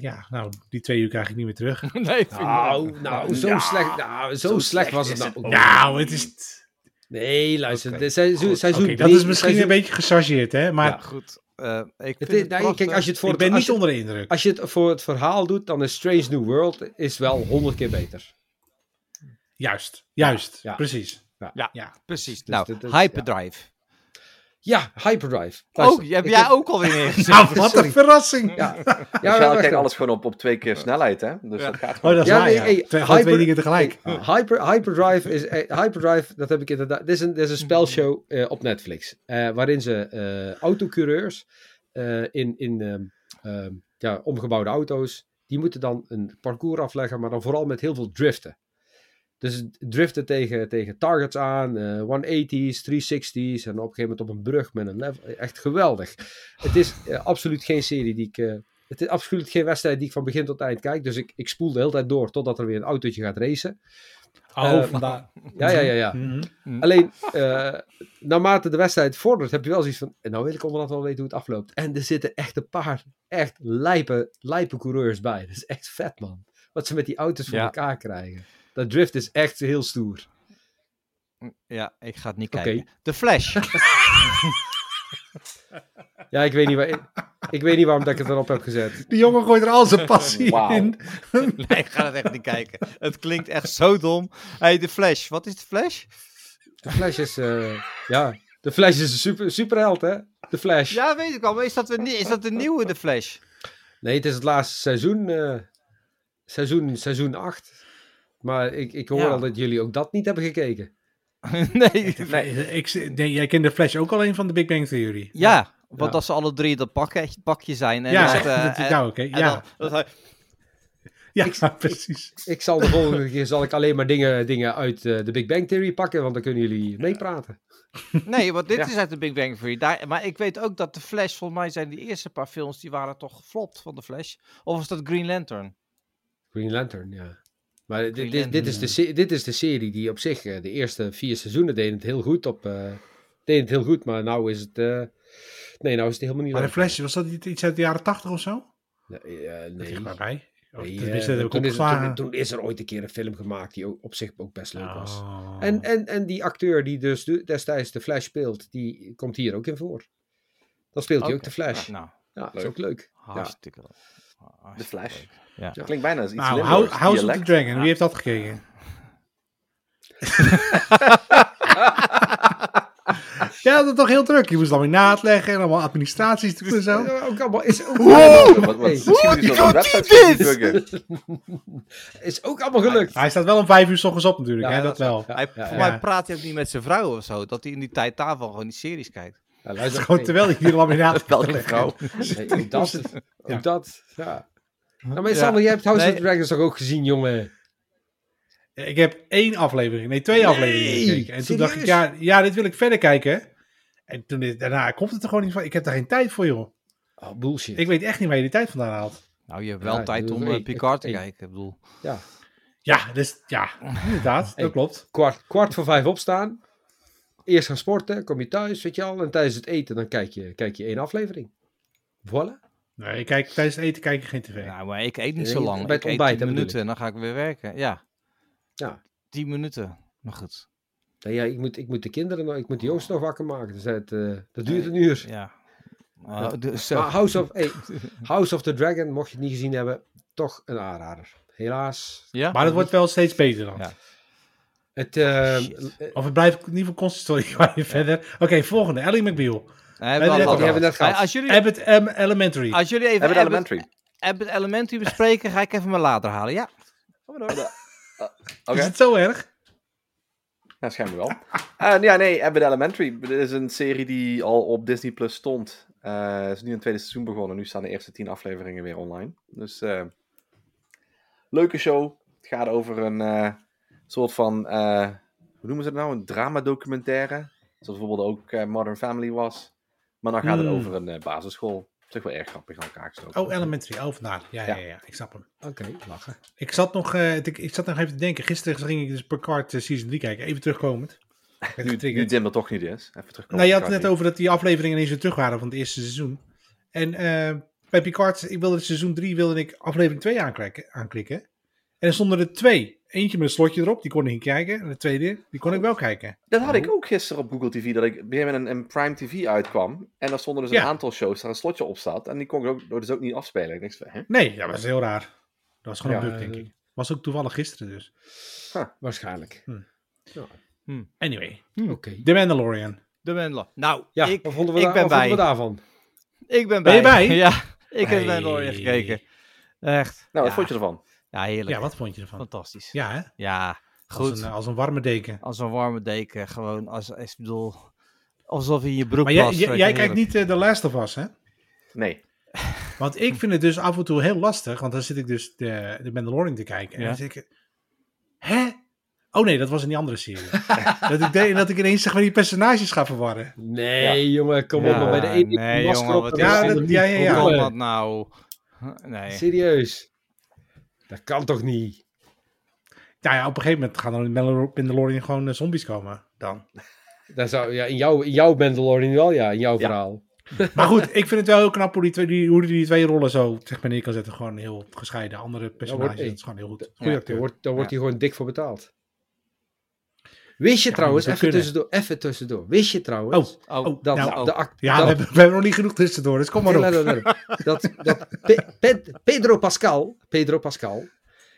B: Ja, nou, die twee uur krijg ik niet meer terug.
A: Nee, vind ik niet.
D: Nou, nou, zo
B: Ja,
D: slecht, nou, zo, slecht, was het nou. ook
B: nou, het is... Oh,
D: niet. Nee, luister,
A: Oké,
D: dit seizoen,
A: goed.
D: seizoen
B: Oké, dat
D: drie-
B: is misschien een
D: seizoen-
B: beetje gechargeerd, hè? Maar
D: Ja.
A: Goed. Eh, ik
D: Het
A: vind
D: is-
A: het
D: nee,
A: prachtig.
D: kijk, als je het voor
B: ik ben
D: het, als
B: niet
D: je,
B: onder de indruk.
D: als je het voor het verhaal doet, dan is Strange New World is wel honderd keer beter.
B: Juist, juist,
D: Ja.
B: precies.
A: Precies.
D: Dus
A: nou,
D: dit is-
A: Hyperdrive.
D: Ja, Hyperdrive.
A: Oh,
D: Luister,
A: die heb
D: ik
A: jij
D: heb-
A: ook alweer neergezet.
B: Nou, wat
D: sorry.
B: een verrassing!
D: Ja,
C: Ja,
D: ja,
C: kijkt
D: wacht dan.
C: alles gewoon op, op twee keer snelheid, hè? Dus dat gaat
B: Oh, dat is
D: Ja,
B: waar,
D: nee,
B: ja.
D: hey,
B: twee, gewoon twee
D: hyper-
B: dingen tegelijk. Oh,
D: Hey, eh, hyper, hyperdrive is eh, hyperdrive. Dat heb ik inderdaad. Dit is een, dit is een
B: Hmm.
D: spelshow eh, op Netflix eh, waarin ze eh autocureurs eh, in, in ehm, ehm, ja, omgebouwde auto's die moeten dan een parcours afleggen, maar dan vooral met heel veel driften. Dus driften tegen, tegen targets aan, eh 180s, 360s en op een gegeven moment op een brug met een level. Echt geweldig. Het is eh, absoluut geen serie die ik eh, het is absoluut geen wedstrijd die ik van begin tot eind kijk. Dus ik, ik spoel de hele tijd door totdat er weer een autootje gaat racen.
B: Oh,
D: Eh,
B: vandaar.
D: Ja, ja, ja. ja.
B: Mhm.
D: Alleen, eh, naarmate de wedstrijd vordert, heb je wel zoiets van... Nou wil ik onderhand wel weten hoe het afloopt. En er zitten echt een paar echt lijpe, lijpe coureurs bij. Dat is echt vet, man. Wat ze met die auto's voor
A: Ja.
D: elkaar krijgen. Dat drift is echt heel stoer.
A: Ja, ik ga het niet
D: Oké.
A: kijken. The Flash.
D: Ja, ik weet niet, waar, ik, ik weet niet waarom dat ik het erop heb gezet.
B: Die jongen gooit er al zijn passie
C: Wauw.
B: in.
A: nee, ik ga het echt niet kijken. Het klinkt echt zo dom. Hey, The Flash. Wat is The Flash?
D: De Flash is... eh, ja, de Flash is een super, superheld, hè? De Flash.
A: Ja, weet ik al. Maar is dat, weer nie- is dat de nieuwe The Flash?
D: Nee, het is het laatste seizoen. eh, seizoen, seizoen 8. Maar ik, ik hoor
A: Ja.
D: al dat jullie ook dat niet hebben gekeken.
A: nee.
B: Nee, ik, nee, jij kent de Flash ook alleen van de Big Bang Theory.
A: Ja, want
D: Ja.
A: dat ze alle drie dat pakketje, pakje zijn. En
B: ja,
A: dat, eh,
B: dat-
A: en-
B: ja, oké.
A: en
B: ja,
A: dan- dat hij-
B: ja,
D: ik-
B: precies.
D: Ik zal de volgende keer zal ik alleen maar dingen, dingen uit eh, de Big Bang Theory pakken, want dan kunnen jullie meepraten.
A: Nee, want dit
C: Ja.
A: is uit de Big Bang Theory. Daar, maar ik weet ook dat de Flash, volgens mij zijn die eerste paar films, die waren toch geflopt van de Flash. Of was dat Green Lantern?
D: Green Lantern, ja. Maar dit-
A: Green
D: dit, dit, is
A: Lantern,
D: de, se- dit is de serie die op zich, eh, de eerste vier seizoenen deden het heel goed op... eh deden het heel goed, maar nou is het... eh, nee, nou is het helemaal niet
B: Maar de
D: leuk.
B: Flash, was dat iets uit de jaren tachtig of zo?
D: Nee, eh,
B: Dat
D: nee.
B: ligt maar bij. Of,
D: Nee,
B: tenminste,
D: eh,
B: dat heb ik
D: toen, is er, toen,
B: opgeslagen.
D: toen is er ooit een keer een film gemaakt die ook op zich ook best leuk was.
B: Oh.
D: En, en, en die acteur die dus de- destijds de Flash speelt, die komt hier ook in voor. Dan speelt hij ook
A: Oké.
D: de Flash.
A: Nou,
D: Ja, dat is
C: Leuk.
D: ook leuk.
A: hartstikke leuk. Hartstikke
C: De Flash.
A: leuk. Ja.
C: Dat klinkt bijna als iets
B: nou,
C: Limburgs,
B: Hou- House of the
C: dialect.
B: Dragon, wie heeft dat gekeken? Je had het toch heel druk. Je moest laminaat leggen en allemaal administraties doen en zo.
D: Ja, Eh, ook allemaal, is, ook,
C: Wat, wat,
D: Hey,
A: Hoe
C: misschien moet je
A: kan
C: zo'n
A: die
C: website
A: dit?
C: debuggen.
D: is ook allemaal gelukt.
B: Hij staat wel om vijf uur s ochtends op natuurlijk,
D: Ja,
B: hè,
D: dat
B: dat
D: is
B: wel.
A: Hij,
D: ja,
A: voor
D: ja.
A: mij praat hij ook niet met zijn vrouw of zo. Dat hij in die tijd daarvan gewoon die series kijkt.
D: Ja, luister,
B: Gewoon
D: hey,
B: terwijl ik hier laminaat
C: Welke vrouw?
D: hey, ook dat,
B: Ja.
D: ook dat, ja. Nou, maar
A: Ja.
D: Sander, jij hebt House of
A: Nee.
D: Dragons toch ook gezien, jongen?
B: Ik heb één aflevering, nee, twee
D: Nee,
B: afleveringen gekeken. En toen dacht ik,
D: serieus?
B: ja, ja, dit wil ik verder kijken. En toen is- daarna komt het er gewoon niet van. Ik heb daar geen tijd voor, joh.
D: Oh, bullshit.
B: Ik weet echt niet waar je die tijd vandaan haalt.
A: Nou, je hebt wel
D: Ja,
A: tijd
D: dus
A: om
D: hey,
A: eh, Picard te
D: hey.
A: kijken. Ik bedoel,
B: Ja, dus, ja inderdaad,
D: Hey.
B: dat klopt.
D: Kwart, kwart voor vijf opstaan. Eerst gaan sporten, kom je thuis, weet je al. En tijdens het eten, dan kijk je, kijk je één aflevering. Voilà.
B: Nee, ik kijk, tijdens het eten kijk ik geen tv.
A: nou, maar ik eet niet
D: Ja,
A: zo
D: je-
A: lang.
D: bij het
A: ik eet
D: ontbijt, hè,
A: tien
D: bedoel
A: minuten en dan ga ik weer werken. Ja.
D: Ja.
A: Tien minuten. Maar goed.
D: Nou ja, ik moet, ik moet de kinderen, nog- ik moet de jongens nog wakker maken. Dus dat, eh, dat duurt een uur.
A: Ja.
D: Ja. Ah.
A: Oh, dus, eh,
D: Maar House of, hey, House of the Dragon, mocht je het niet gezien hebben, toch een aanrader. Helaas.
A: ja?
B: Maar dat wordt wel steeds beter dan.
A: Ja.
D: Het, eh,
A: Shit.
D: eh,
B: Of het blijft in ieder geval consistent waar je verder. Oké, volgende. Ellie McBeal.
A: Nee, hebben we
B: die hebben
A: al gehad.
D: we net gehad.
A: Hey, Als jullie,
B: Abbott M. Elementary.
A: als jullie even
C: Hebben
A: Abbott
C: we Elementary?
A: Abbott Elementary bespreken, ga ik even mijn lader halen. Ja. Kom maar door.
C: Oké.
B: Is het zo erg?
C: Ja, schijnbaar wel. Eh, ja, nee, Abbott Elementary. Dit is een serie die al op Disney Plus stond. Eh is nu een tweede seizoen begonnen. Nu staan de eerste tien afleveringen weer online. Dus eh, leuke show. Het gaat over een eh, soort van, eh, hoe noemen ze het nou? Een dramadocumentaire. Zoals bijvoorbeeld ook eh, Modern Family was. Maar dan gaat het
B: Hmm.
C: over een eh, basisschool. Zeg wel erg grappig aan elkaar gestoken.
B: Oh, Elementary. Oh, vandaar. Ja, ja, ja, Ik snap hem.
D: oké, lachen.
B: Ik zat nog, eh, ik, ik zat nog even te denken. Gisteren ging ik dus Picard eh, Season 3 kijken. Even terugkomend. Werd
C: nu, nu
B: getriggerd.
C: Jim er toch niet is. Even terugkomen.
B: Nou, je had
C: op
B: het net
C: Cardi.
B: over dat die afleveringen ineens weer terug waren van het eerste seizoen. En eh, bij Picard, ik wilde seizoen 3, wilde ik aflevering 2 aanklikken. aanklikken. En er stonden er twee. Eentje met een slotje erop, die kon ik niet kijken. En de tweede, die kon ik wel kijken.
C: Dat had ik ook gisteren op Google TV, dat ik weer met een, een Prime TV uitkwam. En daar stonden dus
B: Ja.
C: een aantal shows waar een slotje op zat. En die kon ik ook, dus ook niet afspelen. Ik dacht van, hè? Nou,
B: Nee, ja, dat was heel raar. Dat was gewoon
C: Ja,
B: een bug, denk
D: eh,
B: ik. Was ook toevallig gisteren dus.
D: Waarschijnlijk.
B: Hm.
D: Ja,
B: Anyway,
D: Oké.
B: The Mandalorian.
A: De Wendler. Nou,
D: Ja,
A: Hmm. ik,
D: wat vonden we,
A: ik
D: daar-
A: ben
D: wat vonden
A: bij.
D: we daarvan?
A: ik ben bij.
B: Ben je bij?
A: Ja, ik heb
B: Hey.
A: Mandalorian gekeken. Echt.
C: Nou, wat
A: ja.
C: vond je ervan?
A: Ja, heerlijk.
B: Ja, wat vond je ervan?
A: Fantastisch. Ja,
B: Ja, hè?
A: goed.
B: Als, een, eh, als een warme deken.
A: Als een warme deken. Gewoon als, als ik bedoel, alsof je in je broek
B: Maar jij,
A: plast.
B: jij,
A: Weet
B: jij
A: je,
B: kijkt
A: heerlijk.
B: niet eh, The Last of Us, hè?
C: Nee.
B: Want ik vind het dus af en toe heel lastig. Want dan zit ik dus de, de Mandalorian te kijken. En
A: Ja.
B: dan zit ik... Hè? Oh nee, dat was in die andere serie. dat, ik de- dat ik ineens zeg maar die personages ga verwarren.
D: Nee, jongen, kom
A: Ja,
D: op. Maar bij de ene
A: nee,
D: masker
A: jongen,
D: op, dan
A: wat is
D: is
B: Ja,
D: het
B: dat-
D: niet.
B: ja, ja, ja.
A: Hoe
D: Jongen,
A: kan dat nou? Huh, Nee.
D: Serieus. Dat kan toch niet?
B: Nou ja, op een gegeven moment gaan er in Mandalor- Mandalorian gewoon eh, zombies komen. Dan.
D: Dat zou, ja, in, jouw, in jouw Mandalorian wel, ja. In jouw
C: Ja.
D: verhaal.
B: Maar goed, ik vind het wel heel knap hoe die twee, die, hoe die twee rollen zo zeg maar neer kan zetten. Gewoon heel gescheiden. Andere personages,
D: wordt-
B: dat is gewoon heel goed. Goeie
D: Ja, daar
B: acteur.
D: wordt, daar wordt hij gewoon dik voor betaald. Wist je trouwens,
B: moet
D: even
B: het kunnen.
D: tussendoor, even tussendoor. Wist je trouwens
A: Oh,
B: Oh,
D: dat
B: nou,
D: de act-
B: Ja,
D: dat-
B: we hebben, we hebben nog niet genoeg tussendoor, dus kom maar
D: Nee,
B: op.
D: nee, nee, nee. Dat, dat Pe- Pe- Pedro Pascal, Pedro Pascal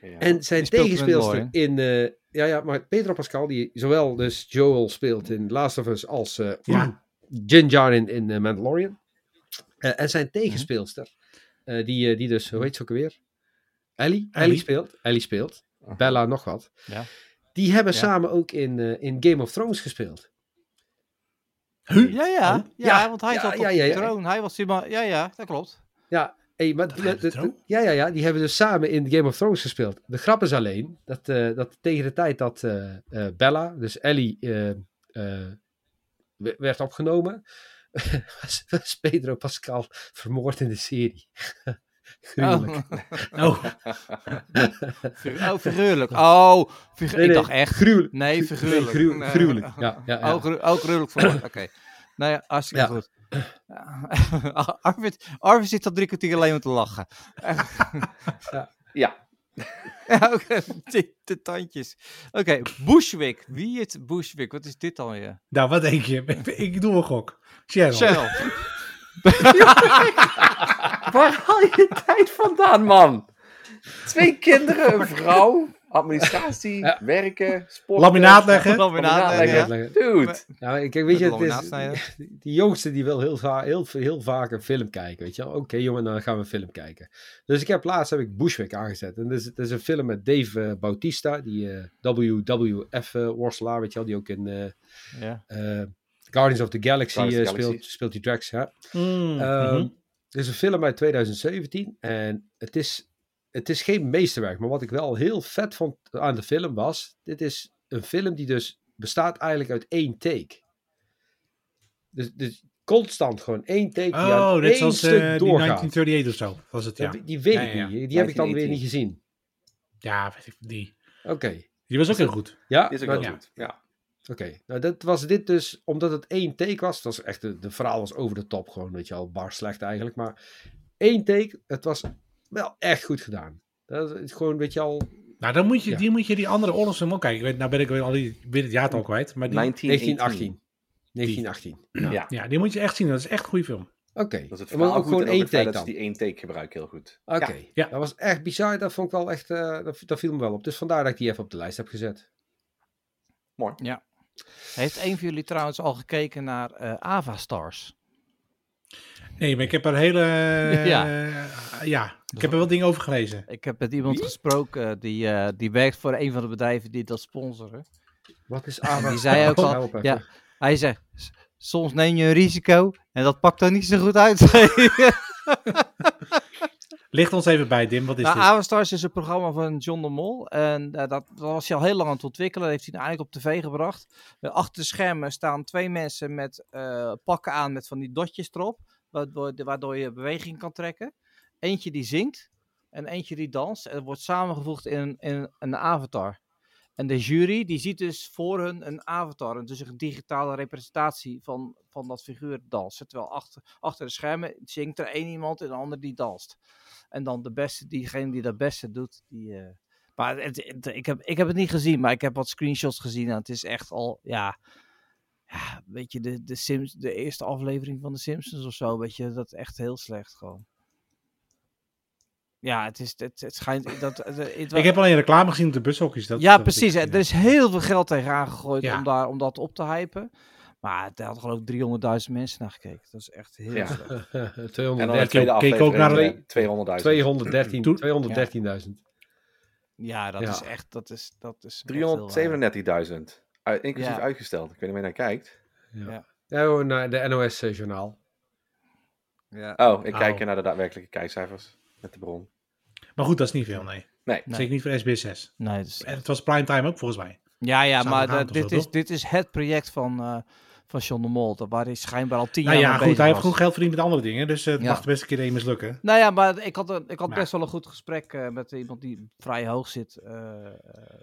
C: Ja.
D: en zijn
A: speelt
D: tegenspeelster
A: Mandalorian.
D: in... eh, ja, ja, maar Pedro Pascal, die zowel dus Joel speelt in Last of Us als eh
B: Ja.
D: Din Djarin in, eh, Mandalorian. Eh, en zijn tegenspeelster, eh, die, eh, die dus, hoe heet ze ook alweer? Ellie? Ellie,
B: Ellie.
D: speelt. Ellie speelt. Bella nog wat.
A: Ja.
D: Die hebben
A: Ja.
D: samen ook in, eh, in Game of Thrones gespeeld.
A: Hm? Ja, ja,
B: Oh.
A: ja,
D: Ja,
A: want hij
D: ja,
A: zat op
D: ja, ja,
A: de
D: ja.
A: troon. Hij was die man. Ja, ja, dat klopt.
D: Hey, maar
B: Dat hebben ze
D: de- de-
B: toch?
D: ja, ja, ja, die hebben dus samen in Game of Thrones gespeeld. De grap is alleen dat, eh, dat tegen de tijd dat eh, eh, Bella, dus Ellie, eh, eh, we- werd opgenomen, was, was Pedro Pascal vermoord in de serie. Gruwelijk.
B: Oh,
A: Oh, oh, figuurlijk. Oh, figu-
D: Nee,
A: ik
D: nee.
A: dacht echt.
D: Gruwelijk.
A: Nee, figuurlijk.
D: Nee, gruw-
A: Nee.
D: gruwelijk. Ja, ja, ja.
A: Oh, gru oh, gruwelijk vermoord. Oké. Nou ja, hartstikke
D: Ja.
A: goed. Ja. Arvid, Arvid zit al drie kwartier alleen maar te lachen.
C: Ja.
A: Ja, oké. De, de tandjes. Oké, Bushwick. Wie is Bushwick? Wat is dit dan weer?
B: nou wat denk je? Ik- Ik doe een gok. Cheryl.
A: Shell.
C: Waar haal je tijd vandaan, man? Twee kinderen, een vrouw. Administratie,
D: Ja.
C: werken, sport.
B: Laminaat leggen.
A: Laminaat leggen,
C: leggen.
A: ja.
C: Dude.
D: Nou, ik, weet
A: Met
D: je,
A: de
D: het is-
A: laminaat snijden.
D: die jongste die wil heel, va- heel, heel vaak een film kijken, weet je wel. Oké jongen, dan gaan we een film kijken. Dus ik heb laatst heb ik Bushwick aangezet. En dat is, dat is een film met Dave eh, Bautista, die eh WWF eh, worstelaar, weet je wel. Die ook in eh,
A: Ja.
D: eh, Guardians of the Galaxy,
C: Guardians of
D: eh,
C: the Galaxy.
D: speelt, speelt die Drax, hè.
B: Mm,
D: Ehm,
B: mhm.
D: Het is een film uit 2017 en het is, het is geen meesterwerk. Maar wat ik wel heel vet vond aan de film was, dit is een film die dus bestaat eigenlijk uit één take. Dus, dus constant gewoon één take die
B: Oh,
D: aan
B: net
D: één
B: zoals eh,
D: stuk
B: die
D: doorgaat.
B: 1938 of zo was het, ja.
D: Die, die weet
B: Ja,
D: ik
B: ja, ja.
D: niet. Die heb ik dan weer
C: 1918.
D: niet gezien.
B: Ja, weet ik, die.
D: Oké.
B: Die was ook heel goed.
D: Ja,
C: Die is ook
D: maar-
C: heel
B: ja.
C: goed. Ja.
D: Oké, nou dat was dit dus, omdat het één take was, het was echt, de, de verhaal was over de top gewoon, weet je al, bar slecht eigenlijk, maar één take, het was wel echt goed gedaan. Dat is gewoon, weet je al,
B: Nou, dan moet je,
D: Ja.
B: die, moet je die andere oorlogsfilm ook kijken. Ik weet, nou ben ik weer al die, weer het jaartal kwijt. Maar die,
C: 1918.
D: 1918. 1918.
B: ja, die moet je echt zien. Dat is echt een goede film.
D: Oké,
C: Dat is het
D: maar
C: verhaal
D: ook
C: goed
D: gewoon
C: en ook
D: één
C: het feit
D: take
C: dat ze
D: dan.
C: die één take gebruiken heel goed.
D: Oké,
B: Ja.
D: dat was echt bizar, dat vond ik wel echt, eh, dat, dat viel me wel op. Dus vandaar dat ik die even op de lijst heb gezet.
A: Heeft een van jullie trouwens al gekeken naar eh Avastars?
B: Nee, maar ik heb er hele... eh,
A: Ja.
B: eh, ja, ik heb er wel dingen over gelezen.
A: Ik heb met iemand gesproken die, eh, die werkt voor een van de bedrijven die dat sponsoren.
D: Wat is Ava?
A: Dus Die zei ook al-
D: Help even.
A: ja. Hij zegt, "S- soms neem je een risico en dat pakt er niet zo goed uit.
B: Licht ons even bij, Dim. Wat is
A: nou,
B: dit?
A: Avastars is een programma van John de Mol. En eh, dat, dat was hij al heel lang aan het ontwikkelen. Dat heeft hij eigenlijk op tv gebracht. Eh, achter de schermen staan twee mensen met eh, pakken aan met van die dotjes erop. Waardoor, waardoor je beweging kan trekken. Eentje die zingt en eentje die danst. En dat wordt samengevoegd in, een- in een avatar. En de jury die ziet dus voor hun een avatar. En dus een digitale representatie van, van dat figuur dansen. Terwijl achter, achter de schermen zingt er één iemand en de ander die danst. En dan de beste, diegene die dat beste doet, die... eh, maar het, het- ik, heb, ik heb het niet gezien, maar ik heb wat screenshots gezien. En het is echt al, ja... ja weet je, de, de, Sims, de eerste aflevering van de Simpsons of zo, weet je. Dat is echt heel slecht gewoon. Ja, het is, het, het schijnt... Dat, eh, het, het-
B: Ik heb alleen reclame gezien op de bushokjes. Dat,
A: ja,
B: dat
A: precies.
B: ik-
A: hè. Er is heel veel geld tegenaan gegooid
B: Ja.
A: om, daar, om dat op te hypen. Maar daar hadden geloof ik 300.000 mensen naar gekeken. Dat is echt heel
C: Ja.
A: slecht.
C: En dan de
D: 213
B: keek-
C: tweede
B: keek ook
C: aflevering
B: naar
D: de-
C: eh, 200.000.
D: 213
B: Toen-
D: 213.000.
A: Ja, dat
D: Ja.
A: is echt... Dat is, dat
B: eh,
A: is echt heel weinig.
C: 337.000. Uit- Inclusief
A: Ja.
C: uitgesteld. Ik weet niet meer naar kijkt.
D: Ja, gewoon naar de NOS-journaal.
A: Ja.
C: Oh, ik
B: Oh.
C: kijk naar de daadwerkelijke kijkcijfers. Met de bron.
B: Maar goed, dat is niet veel, nee.
C: Nee.
A: Nee.
B: Zeker niet voor SBS6.
A: Nee, dat is
B: En het was primetime ook, volgens mij.
A: Ja, ja,
B: Samen
A: maar
B: gaan
A: dat-
B: of zo,
A: dit, is,
B: toch?
A: dit is het project van, eh van John de Mol. Dat waar hij schijnbaar al tien
B: nou
A: jaar
B: ja,
A: mee
B: goed.
A: bezig
B: Hij heeft
A: was.
B: genoeg geld verdiend met andere dingen. Dus eh, het
A: Ja.
B: mag de beste keer één mislukken.
A: Nou ja, maar ik had, een- ik had
B: Maar-
A: best wel een goed gesprek eh, met iemand die vrij hoog zit eh, eh,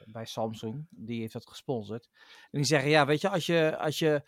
A: bij Samsung. Die heeft dat gesponsord. En die zeggen, ja, weet je, als je... Als je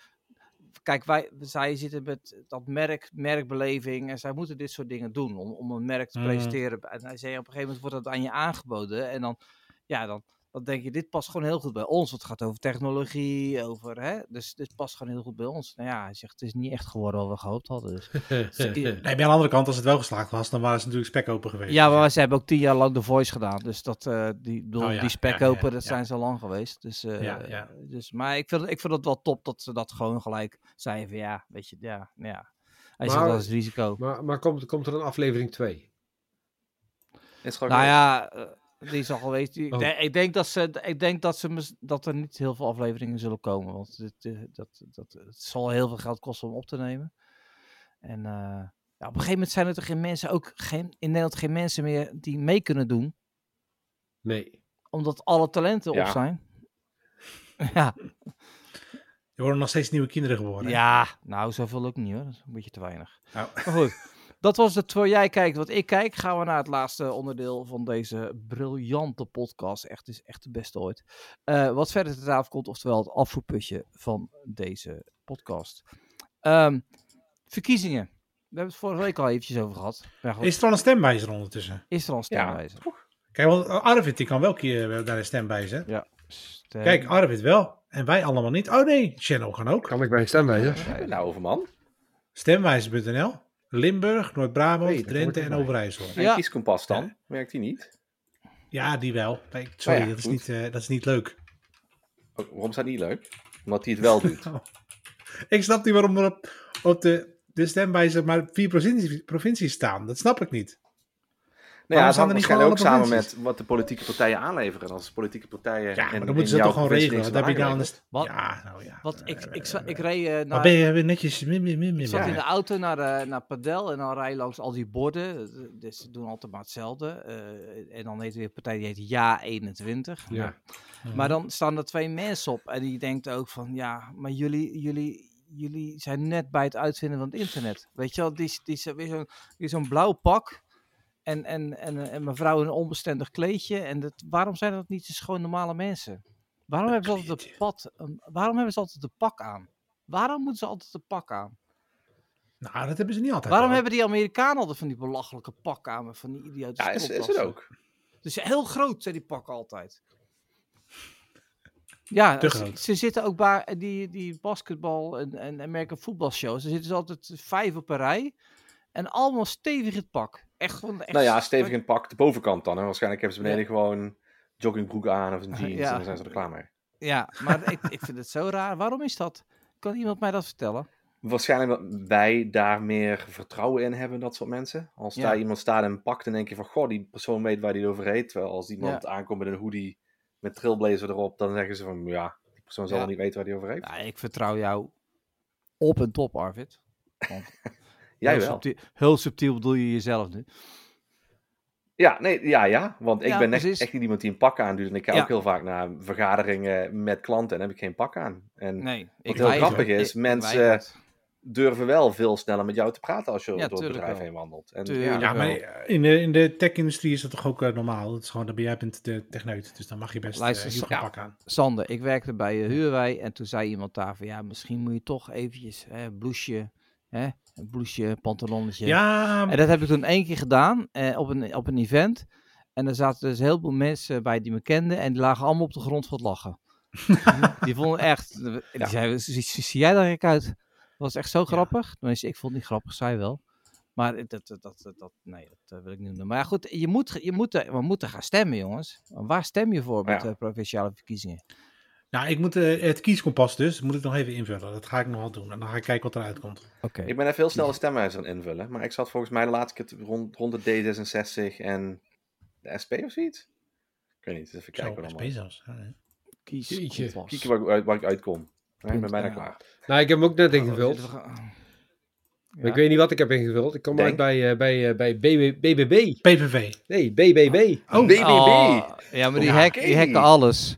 A: Kijk, wij, zij zitten met dat merk, merkbeleving en zij moeten dit soort dingen doen om, om een merk te
B: Mhm.
A: presenteren. En hij zei, op een gegeven moment wordt dat aan je aangeboden en dan, ja, dan, dan denk je, dit past gewoon heel goed bij ons. Want het gaat over technologie, over, hè, dus dit past gewoon heel goed bij ons. Nou ja, hij zegt, het is niet echt geworden wat we gehoopt hadden. Dus
B: Nee, maar aan de andere kant, als het wel geslaagd was, dan waren ze natuurlijk spek open geweest.
A: Ja,
B: Dus
A: maar ze hebben ook tien jaar lang de Voice gedaan. Dus dat, eh, die, bedoel,
B: Oh ja,
A: die spek
B: ja, ja,
A: open, dat
B: ja.
A: zijn ze al lang geweest. Dus, eh,
B: Ja, ja.
A: dus, maar ik vind, ik vind het wel top dat ze dat gewoon gelijk zeiden van ja, weet je, ja, nou ja. Hij zegt
D: Maar-
A: dat is risico.
D: Maar, maar komt, komt er een aflevering 2?
C: Is
A: Nou ja, eh, die is al geweest. Die-
D: Oh.
A: Ik, denk, ik denk dat ze, ik denk dat ze mis- dat er niet heel veel afleveringen zullen komen, want dit, eh, dat, dat, het zal heel veel geld kosten om op te nemen. En eh, ja, op een gegeven moment zijn er toch geen mensen, ook geen, in Nederland geen mensen meer die mee kunnen doen.
D: Nee.
A: Omdat alle talenten op
C: Ja.
A: zijn. Ja,
B: Er worden nog steeds nieuwe kinderen geboren. hè?
A: ja, nou zoveel ook niet hoor. Dat is een beetje te weinig.
B: Nou.
A: Maar goed, dat was het voor jij kijkt wat ik kijk. Gaan we naar het laatste onderdeel van deze briljante podcast. Echt, het is echt de beste ooit. Eh, wat verder te tafel komt, oftewel het afvoerputje van deze podcast. Ehm, verkiezingen. We hebben het vorige week al eventjes over gehad. Maar goed, is,
B: Is er al een stemwijzer ondertussen?
A: er al een
C: Ja.
A: stemwijzer?
B: Kijk, want Arvid die kan wel keer naar de stemwijzer.
A: Stem-
B: Kijk, Arvid wel. En wij allemaal niet. Oh nee, Channel gaan ook.
D: Kan ik bij een stemwijzer?
C: Waar hebben we het nou over, man?
B: Stemwijzer.nl. Limburg, Noord-Brabant,
D: Nee, dat hoort
B: Drenthe en
D: erbij.
B: Overijssel.
C: Mijn
A: Ja.
C: kieskompas dan? Werkt die niet?
B: Ja, die wel. Nee, sorry,
C: ja,
B: dat, is
C: goed.
B: niet, eh, dat is niet leuk.
C: Oh, waarom is dat niet leuk? Omdat hij het wel doet. Nou
B: Ik snap niet waarom er op, op de, de stemwijzer maar vier provincies, provincies staan. Dat snap ik niet.
C: Nou ja, het
B: staan
C: hangt
B: er niet
C: waarschijnlijk ook
B: gewoon alle
C: samen met wat de politieke partijen aanleveren. Als de politieke partijen.
B: Ja,
C: in-
B: maar
C: in
B: dan moeten ze
C: jouw
B: toch gewoon
C: provincie
B: regelen.
C: niks
B: Wat heb je
C: van
B: nou aan de
C: aangeleverd.
B: st-
A: Wat-
B: Ja, nou ja.
A: Want ik, ik, zwa- ik reed, eh,
B: Maar
A: naar,
B: ben je weer netjes... Mim, mim, mim, mim,
A: ik zat in de
B: ja.
A: auto naar, eh, naar Padel en dan rij je langs al die borden. Eh, Dus ze doen altijd maar hetzelfde. Eh, en dan heet weer een partij die heet Ja 21. Nou,
D: Ja.
A: Maar dan staan er twee mensen op en die denkt ook van ja, maar jullie, jullie, jullie zijn net bij het uitvinden van het internet. Weet je wel, die, is- die, is weer zo'n weer zo'n blauw pak en, en, en, eh, en mevrouw in een onbestendig kleedje. En dat, waarom zijn dat niet eens gewoon normale mensen? Waarom hebben ze altijd een
B: kleedje.
A: pad? een- waarom hebben ze altijd een pak aan? Waarom moeten ze altijd een pak aan?
B: Nou, dat hebben ze niet altijd.
A: Waarom
B: hoor.
A: hebben die Amerikanen altijd van die belachelijke pak aan? met Van die idiote
C: Ja, is, is het
A: stropdassen?
C: ook.
A: Dus heel groot zijn die pakken altijd. Ja,
B: Te
A: ze-
B: groot.
A: Ze, zitten ook bij eh, die, die basketbal en, en American football shows. Er zitten ze altijd vijf op een rij. En allemaal stevig in het pak. Echt gewoon. Echt
C: Nou ja, stevig in het pak, de bovenkant dan. Hè. Waarschijnlijk hebben ze beneden gewoon joggingbroek aan of een
A: Ah,
C: jeans.
A: ja.
C: En dan zijn ze er klaar mee.
A: Ja, maar ik, ik vind het zo raar. Waarom is dat? Kan iemand mij dat vertellen?
C: Waarschijnlijk dat wij daar meer vertrouwen in hebben, dat soort mensen. Als
A: Ja.
C: daar iemand staat en pakt, dan denk je van, goh, die persoon weet waar die het over reed. Terwijl als iemand aankomt met een hoodie met trailblazer erop, dan zeggen ze van, ja, die persoon zal
A: Ja.
C: wel niet weten waar die over heeft.
A: Nou, ik vertrouw jou op en top, Arvid. Want
C: Jij
A: heel
C: wel.
A: subtiel- heel subtiel bedoel je jezelf nu.
C: Ja, nee, ja, ja. Want ik
A: Ja,
C: ben echt,
A: precies.
C: echt niet iemand die een pak aandoet. En ik ga
A: Ja.
C: ook heel vaak naar vergaderingen met klanten en heb ik geen pak aan. En
A: Nee, ik
C: heel
A: weiger-
C: grappig is,
A: ik- ik
C: mensen-
A: weiger het.
C: durven wel veel sneller met jou te praten als je
A: Ja,
C: door het
A: tuurlijk
C: bedrijf
A: wel.
C: heen wandelt. En,
A: Tuurlijk.
C: ja,
B: Ja, maar eh, in de, in de tech-industrie is dat toch ook eh, normaal? Dat is gewoon, dan ben jij bent de techneut, dus dan mag je best uh,
A: Luister,
B: heel
A: ja.
B: pak aan.
A: Sander, ik werkte bij eh, Huurwij en toen zei iemand daar van ja, misschien moet je toch eventjes hè, blouseje, hè, een blouseje, pantalonnetje.
B: Ja,
A: En dat heb ik toen één keer gedaan eh, op, een, op een event. En er zaten dus heel veel mensen bij die me kenden en die lagen allemaal op de grond van het lachen. die vonden echt, die zeiden, "Zie- zie zie jij daar eigenlijk uit? Dat was echt zo grappig. Tenminste, ik vond het niet grappig, zij wel. Maar dat, dat, dat, dat, dat- nee, dat eh, wil ik niet doen. Maar ja, goed, je moet, ge- je moet, er- we moeten gaan stemmen, jongens. Waar stem je voor met
C: Ja.
A: de provinciale verkiezingen?
B: nou, ik moet eh, het kieskompas dus, moet ik nog even invullen. Dat ga ik nog wel doen en dan ga ik kijken wat eruit komt.
A: Oké.
C: ik ben even heel snel de stemwijzer aan invullen. Maar ik zat volgens mij de laatste keer te- rond, rond de D66 en de SP of zoiets. Ik weet niet, even kijken.
B: Zo,
C: wat
B: SP
C: allemaal.
B: zelfs. Ja, ja.
A: Kies.
D: Jeetje.
A: kompas.
C: Kieken waar ik, uit- waar ik uitkom. Nee, ik ben
A: Punt,
C: bijna
A: ja.
C: klaar.
D: Nou, ik heb hem ook net
A: Dit
D: ingevuld.
A: Oh, is toch-
D: Maar Ik weet niet wat ik heb ingevuld. Ik kom
C: Denk.
D: uit bij, eh, bij, eh, bij BB BBB.
B: PVV.
D: Nee, BBB.
A: Ah.
B: Oh,
C: BBB!
A: Oh, ja, maar die,
B: Ja,
A: hack, die
C: oké.
A: hackte alles.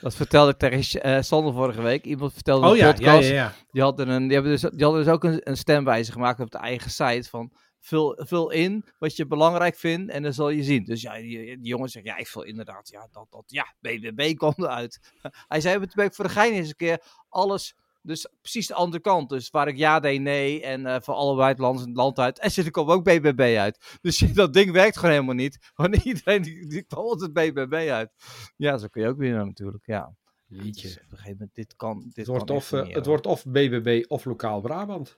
A: Dat vertelde ik tegen eh Sander vorige week. Iemand vertelde in
B: oh
A: de
B: ja, ja, ja,
A: podcast.
B: ja.
A: Die, hadden een, die, hebben dus, die hadden dus ook een, een stemwijze gemaakt op de eigen site. Van vul, vul in wat je belangrijk vindt en dan zal je zien. Dus ja, die, die jongen zegt, ja, ik vul inderdaad, ja, dat, dat, ja, BBB kwam eruit. Hij zei, toen ben ik voor de gein eens een keer alles, dus precies de andere kant. Dus waar ik ja deed, nee en eh, voor allebei het land, het land uit. En er kwam ook BBB uit. Dus dat ding werkt gewoon helemaal niet. Want iedereen, die, die kwam altijd BBB uit. Ja, zo kun je ook winnen natuurlijk, ja. Dus op een gegeven moment, dit kan, dit
D: Het wordt,
A: kan echt
D: of,
A: niet
D: eh,
A: meer,
D: het
A: hoor.
D: wordt of BBB of Lokaal Brabant.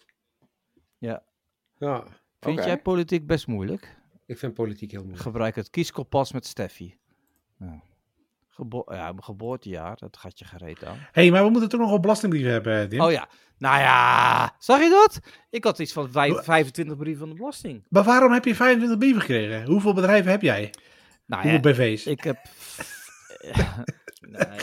A: Ja.
D: Ja,
A: Vind
C: Oké.
A: jij politiek best moeilijk?
D: ik vind politiek heel moeilijk.
A: Gebruik het kieskompas met Steffi. Ja. Gebo- ja, mijn geboortejaar, dat gaat je gereed aan.
B: hey, maar we moeten toch nog wel belastingbrieven hebben, eh, Dim.
A: Oh ja, nou ja, zag je dat? Ik had iets van vijf-
B: Wa-
A: 25 brieven van de belasting.
B: Maar waarom heb je 25 brieven gekregen? Hoeveel bedrijven heb jij?
A: Nou ja,
B: Hoeveel BV's?
A: ik heb... nou, ja.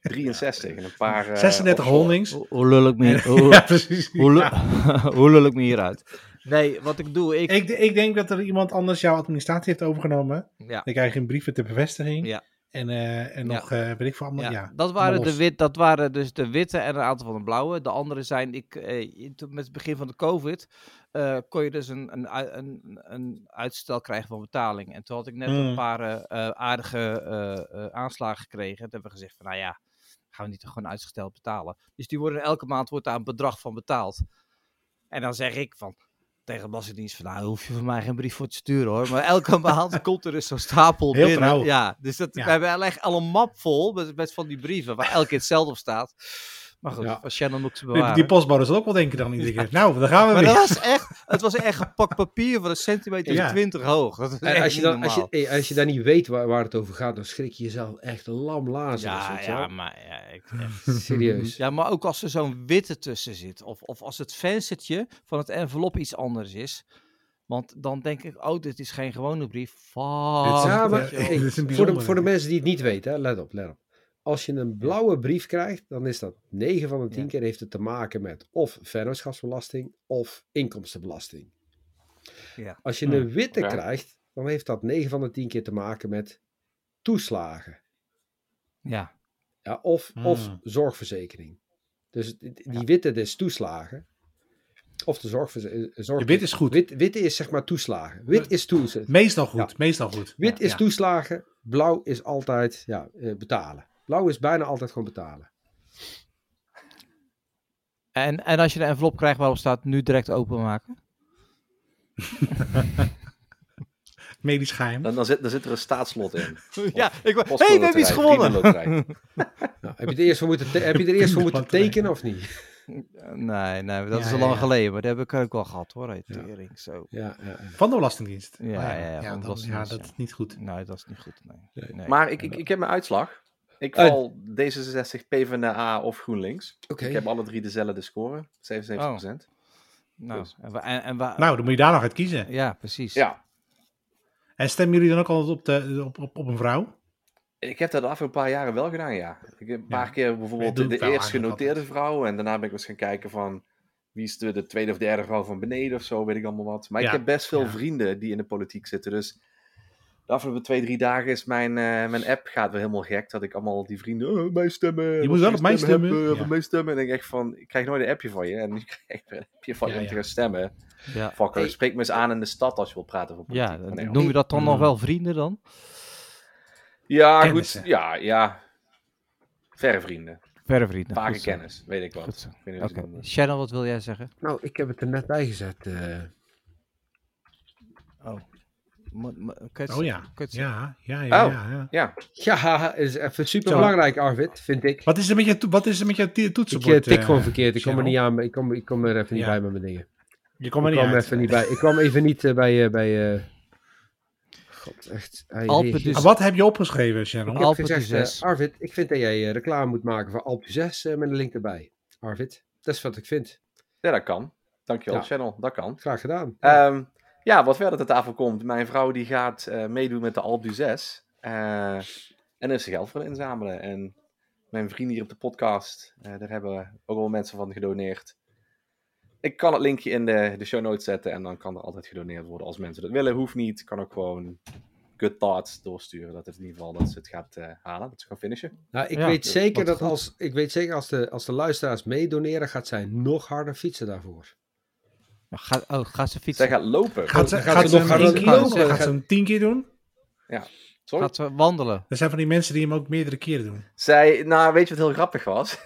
C: 63 en een paar... eh,
B: 36
C: offshore.
B: holdings.
A: hoe, hoe lul ik me hier, hoe,
B: ja, precies.
A: hoe,
B: Ja.
A: lul- hoe lul ik me hieruit? Nee, wat ik doe, ik...
B: Ik, ik denk dat er iemand anders jouw administratie heeft overgenomen.
A: ja,
B: Dan krijg je een brieven ter bevestiging.
A: Ja.
B: En, eh, en
A: Ja.
B: nog, eh weet ik veel, allemaal,
A: ja,
B: ja.
A: dat, waren
B: allemaal
A: de
B: los.
A: wit, dat waren dus de witte en een aantal van de blauwe. De andere zijn, ik, eh, in- toen met het begin van de COVID, eh, kon je dus een, een, ui- een, een uitstel krijgen van betaling. En toen had ik net een
B: Mm.
A: paar eh, eh, aardige eh, eh, aanslagen gekregen. Toen hebben we gezegd van, nou ja, gaan we niet gewoon uitgesteld betalen. Dus die worden elke maand wordt daar een bedrag van betaald. En dan zeg ik van tegen de belastingdienst van, nou hoef je van mij geen brief voor te sturen hoor. Maar elke maand komt er dus zo'n stapel
B: Heel
A: binnen.
B: trouw.
A: Ja, dus dat,
B: Ja.
A: wij hebben eigenlijk al een map vol met, met van die brieven waar elke keer hetzelfde op staat. Maar goed,
D: Ja.
A: als Shannon ook ze
B: Die,
A: bewaren.
B: die postbode zal ook wel denken dan iedere keer. Nou, daar gaan we
A: maar
B: weer.
A: dat was echt, het was echt een pak papier van een centimeter
B: Ja.
A: of twintig hoog. Dat is
D: En
A: echt
D: als je,
A: niet
D: dan, als, je,
A: normaal.
D: hey, als je dan niet weet waar, waar het over gaat, dan schrik je jezelf echt lam lazen.
A: ja,
D: weet je wel.
A: ja, maar ja, ik, echt.
D: Serieus.
A: Ja, maar ook als er zo'n witte tussen zit. Of, of als het venstertje van het envelop iets anders is. Want dan denk ik, oh, dit is geen gewone brief.
B: Dit
A: Fuck.
B: is-
D: Ja,
B: Oh,
D: maar
B: dat is
D: hey,
B: een
D: voor, de,
B: bijzondere.
D: voor de mensen die het niet weten, hè, let op, let op. Als je een blauwe brief krijgt, dan is dat 9 van de 10
A: Ja.
D: keer heeft het te maken met of vennootschapsbelasting of inkomstenbelasting.
A: Ja.
D: Als je
B: Hmm,
D: een witte
C: oké.
D: krijgt, dan heeft dat 9 van de 10 keer te maken met toeslagen
A: Ja,
D: ja, of, of
B: Hmm.
D: zorgverzekering. Dus die, die witte dat is toeslagen. Of de zorgverzekering.
B: De wit is goed.
D: Wit, witte is zeg maar toeslagen. Wit is toeslagen.
B: Meestal goed, meestal goed.
D: Wit
A: Ja,
D: is
A: ja.
D: toeslagen, blauw is altijd ja, eh, betalen. Blauw is bijna altijd gewoon betalen.
A: En, en als je de envelop krijgt waarop staat nu direct openmaken.
B: Medisch geheim.
C: Dan, dan, zit, dan zit er een staatslot in.
A: ja, ik wou-
C: Postcode
A: hey, we hebben iets
C: loterij,
A: gewonnen.
C: vriendenloterij.
D: Nou, heb, je er eerst voor moeten te- heb je er eerst voor moeten
B: Vriendenpartij.
D: tekenen of niet?
A: Nee, nee, dat
B: Ja,
A: is al
B: ja,
A: lang
B: ja.
A: geleden. Maar dat heb ik ook al gehad hoor. Hey, tering, zo.
D: Ja, ja, ja.
B: Van de Belastingdienst.
A: Ja, ja, ja, van de
B: dan-
A: Belastingdienst,
B: ja, dat
A: ja.
B: is niet goed.
A: Nee, dat is niet goed. Nee. Nee.
C: Maar ik, ik, ik heb mijn uitslag. Ik
D: Eh.
C: val D66, PvdA of GroenLinks.
D: Oké.
C: Ik heb alle drie dezelfde
A: Oh.
C: score. 77%.
A: nou, en, wa- en, en wa-
B: Nou, dan moet je daar nog uit kiezen.
A: ja, precies.
C: dus Ja,
B: En stemmen jullie dan ook altijd op, de, op, op, op een vrouw?
C: ik heb dat de afgelopen paar jaren wel gedaan, ja. Ik heb een paar keer
B: Ik
C: bijvoorbeeld
B: doe
C: de,
B: het wel
C: eerst
B: eigenlijk
C: genoteerde
B: altijd.
C: vrouw. En daarna ben ik eens gaan kijken van... Wie is de, de tweede of derde vrouw van beneden of zo, weet ik allemaal wat. Maar
B: Ja,
C: ik heb best veel
B: ja.
C: vrienden die in de politiek zitten. Dus de afgelopen twee, drie dagen is mijn, eh, mijn app gaat weer helemaal gek. Dat ik allemaal die vrienden, oh, mij stemmen.
B: moet
C: wat
B: wel op mij stemmen.
C: hebben,
B: Ja.
C: wat mij stemmen. En dan denk ik echt van, ik krijg nooit een appje van je. En nu krijg ik weer een appje van je
B: Ja,
C: om te
B: ja.
C: gaan stemmen. Nou,
A: Ja.
C: Fucker,
D: Hey.
C: spreek me eens aan in de stad als je wilt praten over politiek.
A: Ja,
C: Van, nee,
A: noem je dat dan nog
B: Mm.
A: wel vrienden dan?
C: Ja,
B: Kennissen.
C: goed. Ja, ja. Verre vrienden.
A: Verre vrienden.
C: Vage
A: Goed zo.
C: kennis, Dus eh, weet ik wat.
A: Goed zo.
C: Ik weet niet hoe ze
A: Oké,
C: het noemen.
A: Shannon, wat wil jij zeggen?
D: Nou, ik heb het er net bij gezet. eh.
A: Oh. Mo- mo- kun je het-
B: Oh ja.
A: kun je het-
B: Ja, ja, ja.
C: Oh.
B: ja, ja.
C: Ja,
D: Ja, is even super belangrijk, Arvid, vind ik.
B: Wat is er met je, to- wat is er met je ti-
D: Ik
B: toetsenbord?
D: eh, tik
B: eh,
D: gewoon verkeerd. Ik kom er
B: Cheryl?
D: niet aan. Ik kom, ik kom er even niet
B: Ja.
D: bij met mijn dingen.
B: Je komt er
D: ik
B: niet
D: kwam
B: uit.
D: even niet bij. Ik kwam even niet eh, bij. eh, bij eh God, echt. Ai,
A: Alpen
D: jee.
A: dus-
B: Ah, Wat heb je opgeschreven,
D: Ik
B: Sharon?
D: heb
A: Alpen
D: gezegd,
A: Q6.
D: eh, Arvid, ik vind dat jij eh, reclame moet maken voor Alpe 6 met een link erbij. Arvid, dat is wat ik vind.
C: ja, dat kan. Dankjewel,
D: Ja.
C: Channel. Dat kan.
D: Graag gedaan. Ja.
C: Ehm, ja, wat verder ter tafel komt. Mijn vrouw die gaat eh, meedoen met de Alp du 6. eh, en er is geld voor inzamelen. En mijn vrienden hier op de podcast, eh, daar hebben ook al mensen van gedoneerd. Ik kan het linkje in de, de show notes zetten en dan kan er altijd gedoneerd worden als mensen dat willen. Hoeft niet, kan ook gewoon good thoughts doorsturen. Dat het in ieder geval dat ze het gaat eh, halen, dat ze gaan finishen.
D: nou, ik,
A: ja,
D: weet zeker
A: wat
D: dat
A: goed.
D: als, ik weet zeker als de, als de luisteraars meedoneren, gaat zij nog harder fietsen daarvoor.
A: Nou, Ga, oh, ga ze fietsen.
C: Zij gaat lopen.
B: Gaat ze,
D: Gaat
B: gaat
D: ze
B: ze
D: nog
B: hem
D: gaan
B: één keer
D: lopen?
B: doen? Gaat
D: Gaat-
B: ze hem tien keer doen?
C: Sorry?
A: Gaat ze wandelen.
B: Er zijn van die mensen die hem ook meerdere keren doen.
C: Zij, nou, weet je wat heel grappig was?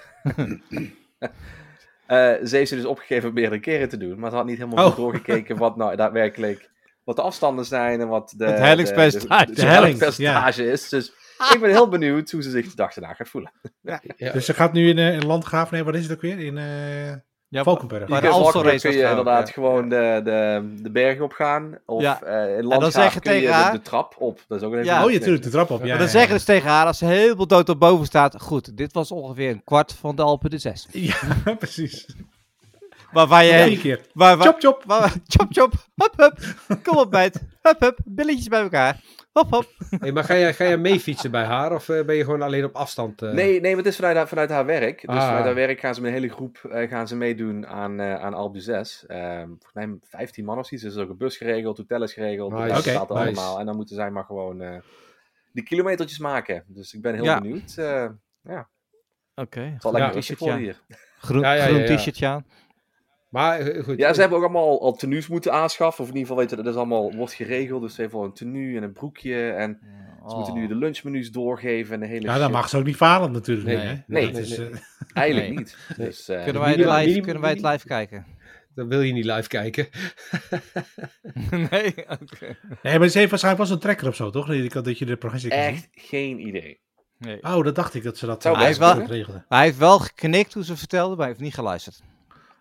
C: Eh, ze heeft ze dus opgegeven om meerdere keren te doen, maar ze had niet helemaal
B: Oh.
C: goed doorgekeken wat nou daadwerkelijk wat de afstanden zijn en wat de,
A: Het hellingspercentage.
C: de-
B: De
C: de-
B: hellings,
C: hellingspercentage is. Dus ik ben heel benieuwd hoe ze zich de dag daarna gaat voelen.
D: Ja.
B: Dus ze gaat nu in, eh, in Landgraaf, nee, wat is het ook weer? In eh,
A: Ja,
B: Valkenburg.
A: Maar
C: Je
A: de
C: kunt
A: Amstel
C: makkelijk
A: Race
C: kun je
A: gaat gaan,
C: inderdaad
A: ja.
C: gewoon de, de, de bergen op gaan. Of
A: Ja.
C: eh, in
A: dan
C: Landgraaf
A: zeggen
C: kun je
A: tegen
C: de,
A: haar-
C: de trap op. Dat is ook een
A: Ja.
B: oh, je tuurlijk, de trap op. Ja,
A: maar dan
B: ja,
A: zeggen ze tegen haar, als ze helemaal dood op boven staat, goed, dit was ongeveer een kwart van de Alpen de 6.
B: ja. Ja, precies.
A: Waar, waar
B: Eén
A: je...
B: keer.
A: Waar, waar,
B: Chop, chop.
A: waar, eh, chop, chop. Hup, hup. Kom op, meid. Hup, hup. Billetjes bij elkaar. Hop, hop.
D: Hey, maar ga jij, ga jij mee fietsen bij haar of eh, ben je gewoon alleen op afstand? eh?
C: Nee, nee, maar het is vanuit haar, vanuit haar werk. Dus
D: Ah.
C: vanuit haar werk gaan ze met een hele groep eh, gaan ze meedoen aan, eh aan Alpe 6. volgens mij 15 man of iets. Dus er is ook een bus geregeld, hotel is geregeld. Dus
D: Nice.
C: dat
B: Oké,
C: staat er
D: nice.
C: allemaal. En dan moeten zij maar gewoon eh die kilometertjes maken. Dus ik ben heel
A: Ja.
C: benieuwd. Eh,
A: Oké.
C: het zal lekker
D: Ja.
C: een t-shirt worden hier.
A: Groen,
D: Ja, ja, ja,
A: groen
D: ja.
A: t-shirtje aan.
D: Maar eh, goed.
C: Ja, ze hebben ook allemaal al tenues moeten aanschaffen. Of in ieder geval weten dat is allemaal wordt geregeld. Dus ze heeft al een tenue en een broekje. En ze moeten
A: Oh.
C: nu de lunchmenu's doorgeven en de hele
B: Ja, dan
C: shit.
B: mag ze ook niet falen natuurlijk.
D: Nee,
B: hè?
C: nee,
B: Dat
C: nee,
B: is,
D: nee.
B: eh,
C: Eigenlijk
A: Nee.
C: niet. Dus, eh,
A: Kunnen wij, het
D: Oh. Minimum-
A: live,
D: minimum-
A: kunnen wij het live kijken?
D: Dan wil je niet live kijken.
A: nee, oké.
B: Nee, maar ze heeft waarschijnlijk wel zo'n trekker of zo, toch? Dat je- dat je de progressie kan zien.
C: Echt geen idee.
A: Nee.
B: Oh, dat dacht ik dat ze dat
C: Zou
B: eh,
A: best
B: dat
A: kunnen.
B: regelden.
A: Maar hij heeft wel geknikt toen ze vertelde, maar hij heeft niet geluisterd.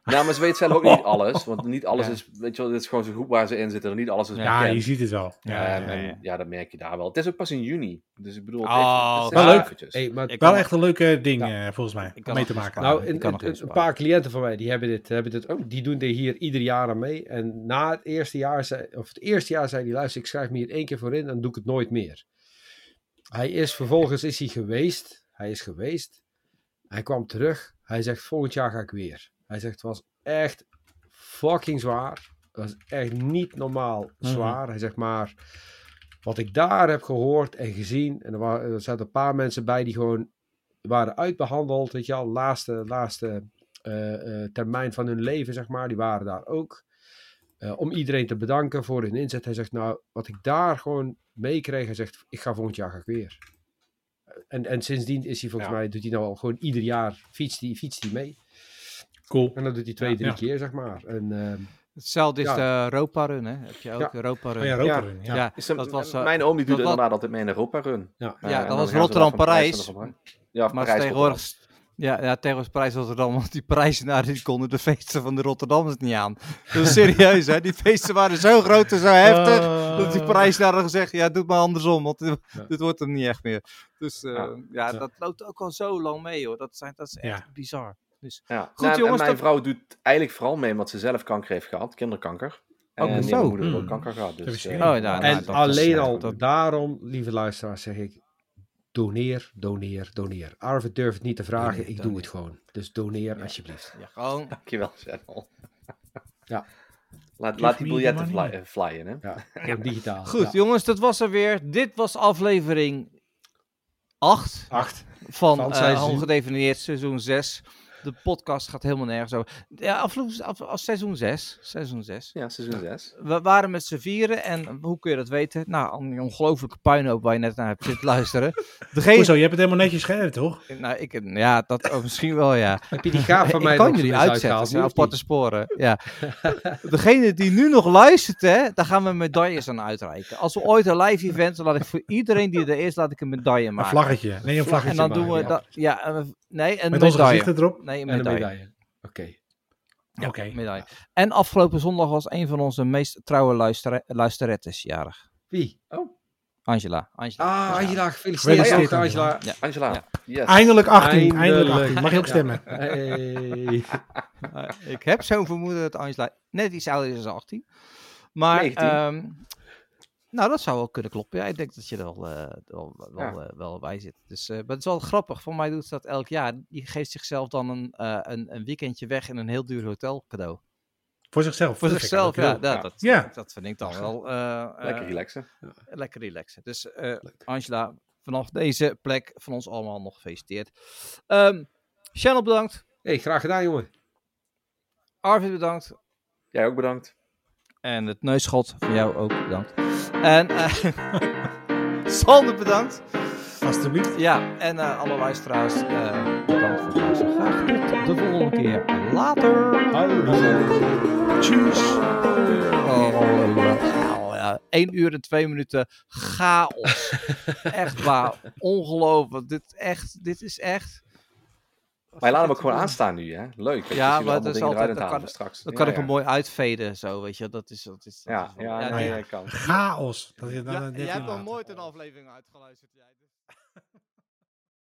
C: Ja, Nou, maar ze weet zelf ook niet alles. Want niet alles
A: Ja.
C: is, weet je wel, dit is gewoon zo'n groep waar ze in zitten. En niet alles is
B: Ja,
C: bekend.
B: je ziet het wel. Ja,
C: Ja,
B: ja,
C: en,
B: ja.
C: en ja, dat merk je daar wel. Het is ook pas in juni. Dus ik bedoel, het
A: Oh,
C: het is
D: wel
C: echt
D: leuk.
C: eventjes.
D: Hey, maar
A: Ik
B: Wel
A: kan-
B: echt een leuke ding
A: Ja.
B: eh, volgens mij
A: Ik kan
B: om mee
A: nog
B: te
A: eens
B: maken.
A: sparen.
D: Nou,
A: Ik
D: een,
A: kan nog
D: een-
A: even
D: een
A: sparen.
D: paar cliënten van mij die hebben dit, hebben dit ook. Die doen dit hier ieder jaar aan mee. En na het eerste jaar, zei, of het eerste jaar zei hij: luister, ik schrijf me hier één keer voor in en dan doe ik het nooit meer. Hij is vervolgens is hij geweest. Hij is geweest. Hij kwam terug. Hij zegt: volgend jaar ga ik weer. Hij zegt: het was echt fucking zwaar. Het was echt niet normaal zwaar. Hij zegt maar. Wat ik daar heb gehoord en gezien, en er, wa- er zaten een paar mensen bij die gewoon waren uitbehandeld, weet je al, laatste, laatste eh, eh, termijn van hun leven, zeg maar, die waren daar ook. Eh, om iedereen te bedanken voor hun inzet. Hij zegt, nou, wat ik daar gewoon meekreeg, hij zegt, ik ga volgend jaar ga ik weer. En, en sindsdien is hij volgens
B: Ja.
D: mij, doet hij nou al gewoon ieder jaar, fietst hij, fietst hij mee.
B: Cool.
D: En dat doet hij twee,
B: Ja,
D: drie
B: ja.
D: keer, zeg maar. En, ehm,
A: Hetzelfde is
D: Ja.
A: de Europa Run, hè? Heb je ook
D: Ja.
A: Europa Run?
B: Oh, ja,
C: Ja.
B: roker in, ja.
A: Ja,
C: Is hem-
A: dat was, eh,
C: mijn oom die doet
A: dat was-
C: inderdaad altijd mee in Europa Run. Eh,
D: ja.
A: Ja,
C: en
A: dat
C: dan
A: was
C: gaan ze dan van
A: Rotterdam-Parijs.
C: naar Rotterdam. Ja, of
A: maar
C: Parijs,
A: tegenwoordig, s- ja, ja, tegenwoordig prijs was er dan, want die prijzen naar die konden de feesten van de Rotterdammers niet aan. Dus serieus, hè? Die feesten waren zo groot en zo heftig.
D: Oh.
B: Eh,
A: Dat die prijs daar gezegd, ja, doe het maar andersom, want dit, dit wordt hem niet echt meer. Dus eh, ja,
C: Ja.
B: Ja.
A: dat loopt ook al zo lang mee, hoor. Dat, zijn, dat is echt
B: Ja.
A: bizar.
C: Ja. Nou,
A: jongens,
C: en mijn
A: dat-
C: vrouw doet eigenlijk vooral mee omdat ze zelf kanker heeft gehad, kinderkanker. En
A: Oh,
C: die
A: zo.
C: heeft moeder heeft
B: Mm.
C: ook kanker gehad.
B: Dat
C: Dus,
B: is
C: eh,
B: geen-
A: Oh, nou, nou,
D: en
A: dat is,
D: alleen
A: eh,
D: al
A: dat-
D: daarom, lieve luisteraars, zeg ik: doneer, doneer, doneer. Arvid durft het niet te vragen,
A: Doneer,
D: ik
A: doneer.
D: doe het gewoon. Dus doneer alsjeblieft.
A: Ja, gewoon.
C: Dankjewel, Channel.
D: Ja.
C: Laat,
B: Give
C: laat die
B: me the
C: biljetten
B: money.
C: fly- eh, flyen, hè?
D: Ja, gewoon digitaal.
A: Goed,
D: ja.
A: jongens, dat was er weer. Dit was aflevering 8
D: Acht.
A: van,
D: Van
A: eh
D: seizoen-
A: Ongedefinieerd seizoen 6. De podcast gaat helemaal nergens over. Ja, aflevering af, af- seizoen 6. Seizoen 6.
C: Ja, seizoen 6.
A: We waren met z'n vieren en hoe kun je dat weten? Nou, aan die ongelofelijke puinhoop waar je net naar hebt zitten luisteren. Degene...
B: Hoezo, je hebt het helemaal netjes geëdit, toch?
A: Nou, ik, ja, dat ook misschien wel, ja.
D: Heb je die gaaf Ah, van
A: ik
D: mij
A: kan
D: nog
A: jullie
D: eens
A: uitzetten,
D: uitgehaald,
A: het zijn
D: nu of
A: aparte sporen. Ja. Degene die nu nog luistert, hè, daar gaan we medailles aan uitreiken. Als we ooit een live event, dan laat ik voor iedereen die er is, laat ik een medaille
B: Een
A: maken.
B: vlaggetje. Nee, een vlaggetje.
A: en dan
B: maken,
A: doen we
B: ja.
A: dat. Ja, een- nee, een
B: Met onze
A: medaille.
B: gezichten erop.
A: Nee, een
D: niet? En een
A: medaille.
D: medaille. Oké.
A: Ja,
B: Oké.
A: medaille. En afgelopen zondag was een van onze meest trouwe luistera- luisterettes jarig.
D: Wie?
A: Angela. Angela.
D: Ah,
A: Dus Oh. ja.
D: Angela, gefeliciteerd.
B: Gefeliciteerd,
D: Angela. Angela.
A: Ja.
C: Angela.
A: Ja.
C: Yes.
B: Eindelijk 18. Eindelijk
D: Eindelijk.
B: 18. Mag je ook
D: Ja.
B: stemmen?
D: Hey.
A: Eh, ik heb zo'n vermoeden dat Angela net iets ouder is dan 18. Maar,
C: 19.
A: ehm, nou, dat zou wel kunnen kloppen. Ja, ik denk dat je er wel, eh, wel, wel, eh, wel bij zit. Dus, eh, maar het is wel grappig. Voor mij doet ze dat elk jaar. Die geeft zichzelf dan een, eh, een, een weekendje weg in een heel duur hotel cadeau.
B: Voor zichzelf.
A: Voor
B: Dat vind ik
A: zichzelf, ja,
B: eigenlijk
A: dat,
C: Ja.
A: Dat,
B: Ja.
A: dat vind ik dan wel eh, eh,
C: Lekker relaxen.
A: lekker relaxen. Dus eh, Angela, vanaf deze plek van ons allemaal nog gefeliciteerd. Ehm Channel bedankt.
D: hey, graag gedaan, jongen.
A: Arvid bedankt.
C: Jij ook bedankt.
A: En het neusschot voor jou ook bedankt. En eh Sander bedankt.
B: heel- Alsjeblieft.
A: Ja, en eh, alle luisteraars eh, bedankt voor het luisteren. Graag tot de volgende keer. Later.
B: Tjus.
A: Oh, ja. 1 uur en 2 minuten chaos. echt waar. Ongelooflijk. Dit, echt, dit is echt.
C: Maar je laat hem ook gewoon aanstaan nu, hè? Leuk. weet je, zien we
A: Ja, maar
C: allemaal
A: dat is
C: dingen
A: altijd-
C: eruit
A: dat
C: halen
A: kan-
C: straks.
A: Dan kan
C: Ja,
A: ik hem
C: ja.
A: mooi uitveden. Zo, weet je. Dat is. Dat is dat
C: Ja,
A: is wel-
C: ja,
A: ja,
C: nee,
A: ja.
C: dat kan.
B: Chaos. Dat je dan
A: Ja,
B: net
A: jij hebt nog
B: inlaat.
A: nooit een aflevering uitgeluisterd. Jij.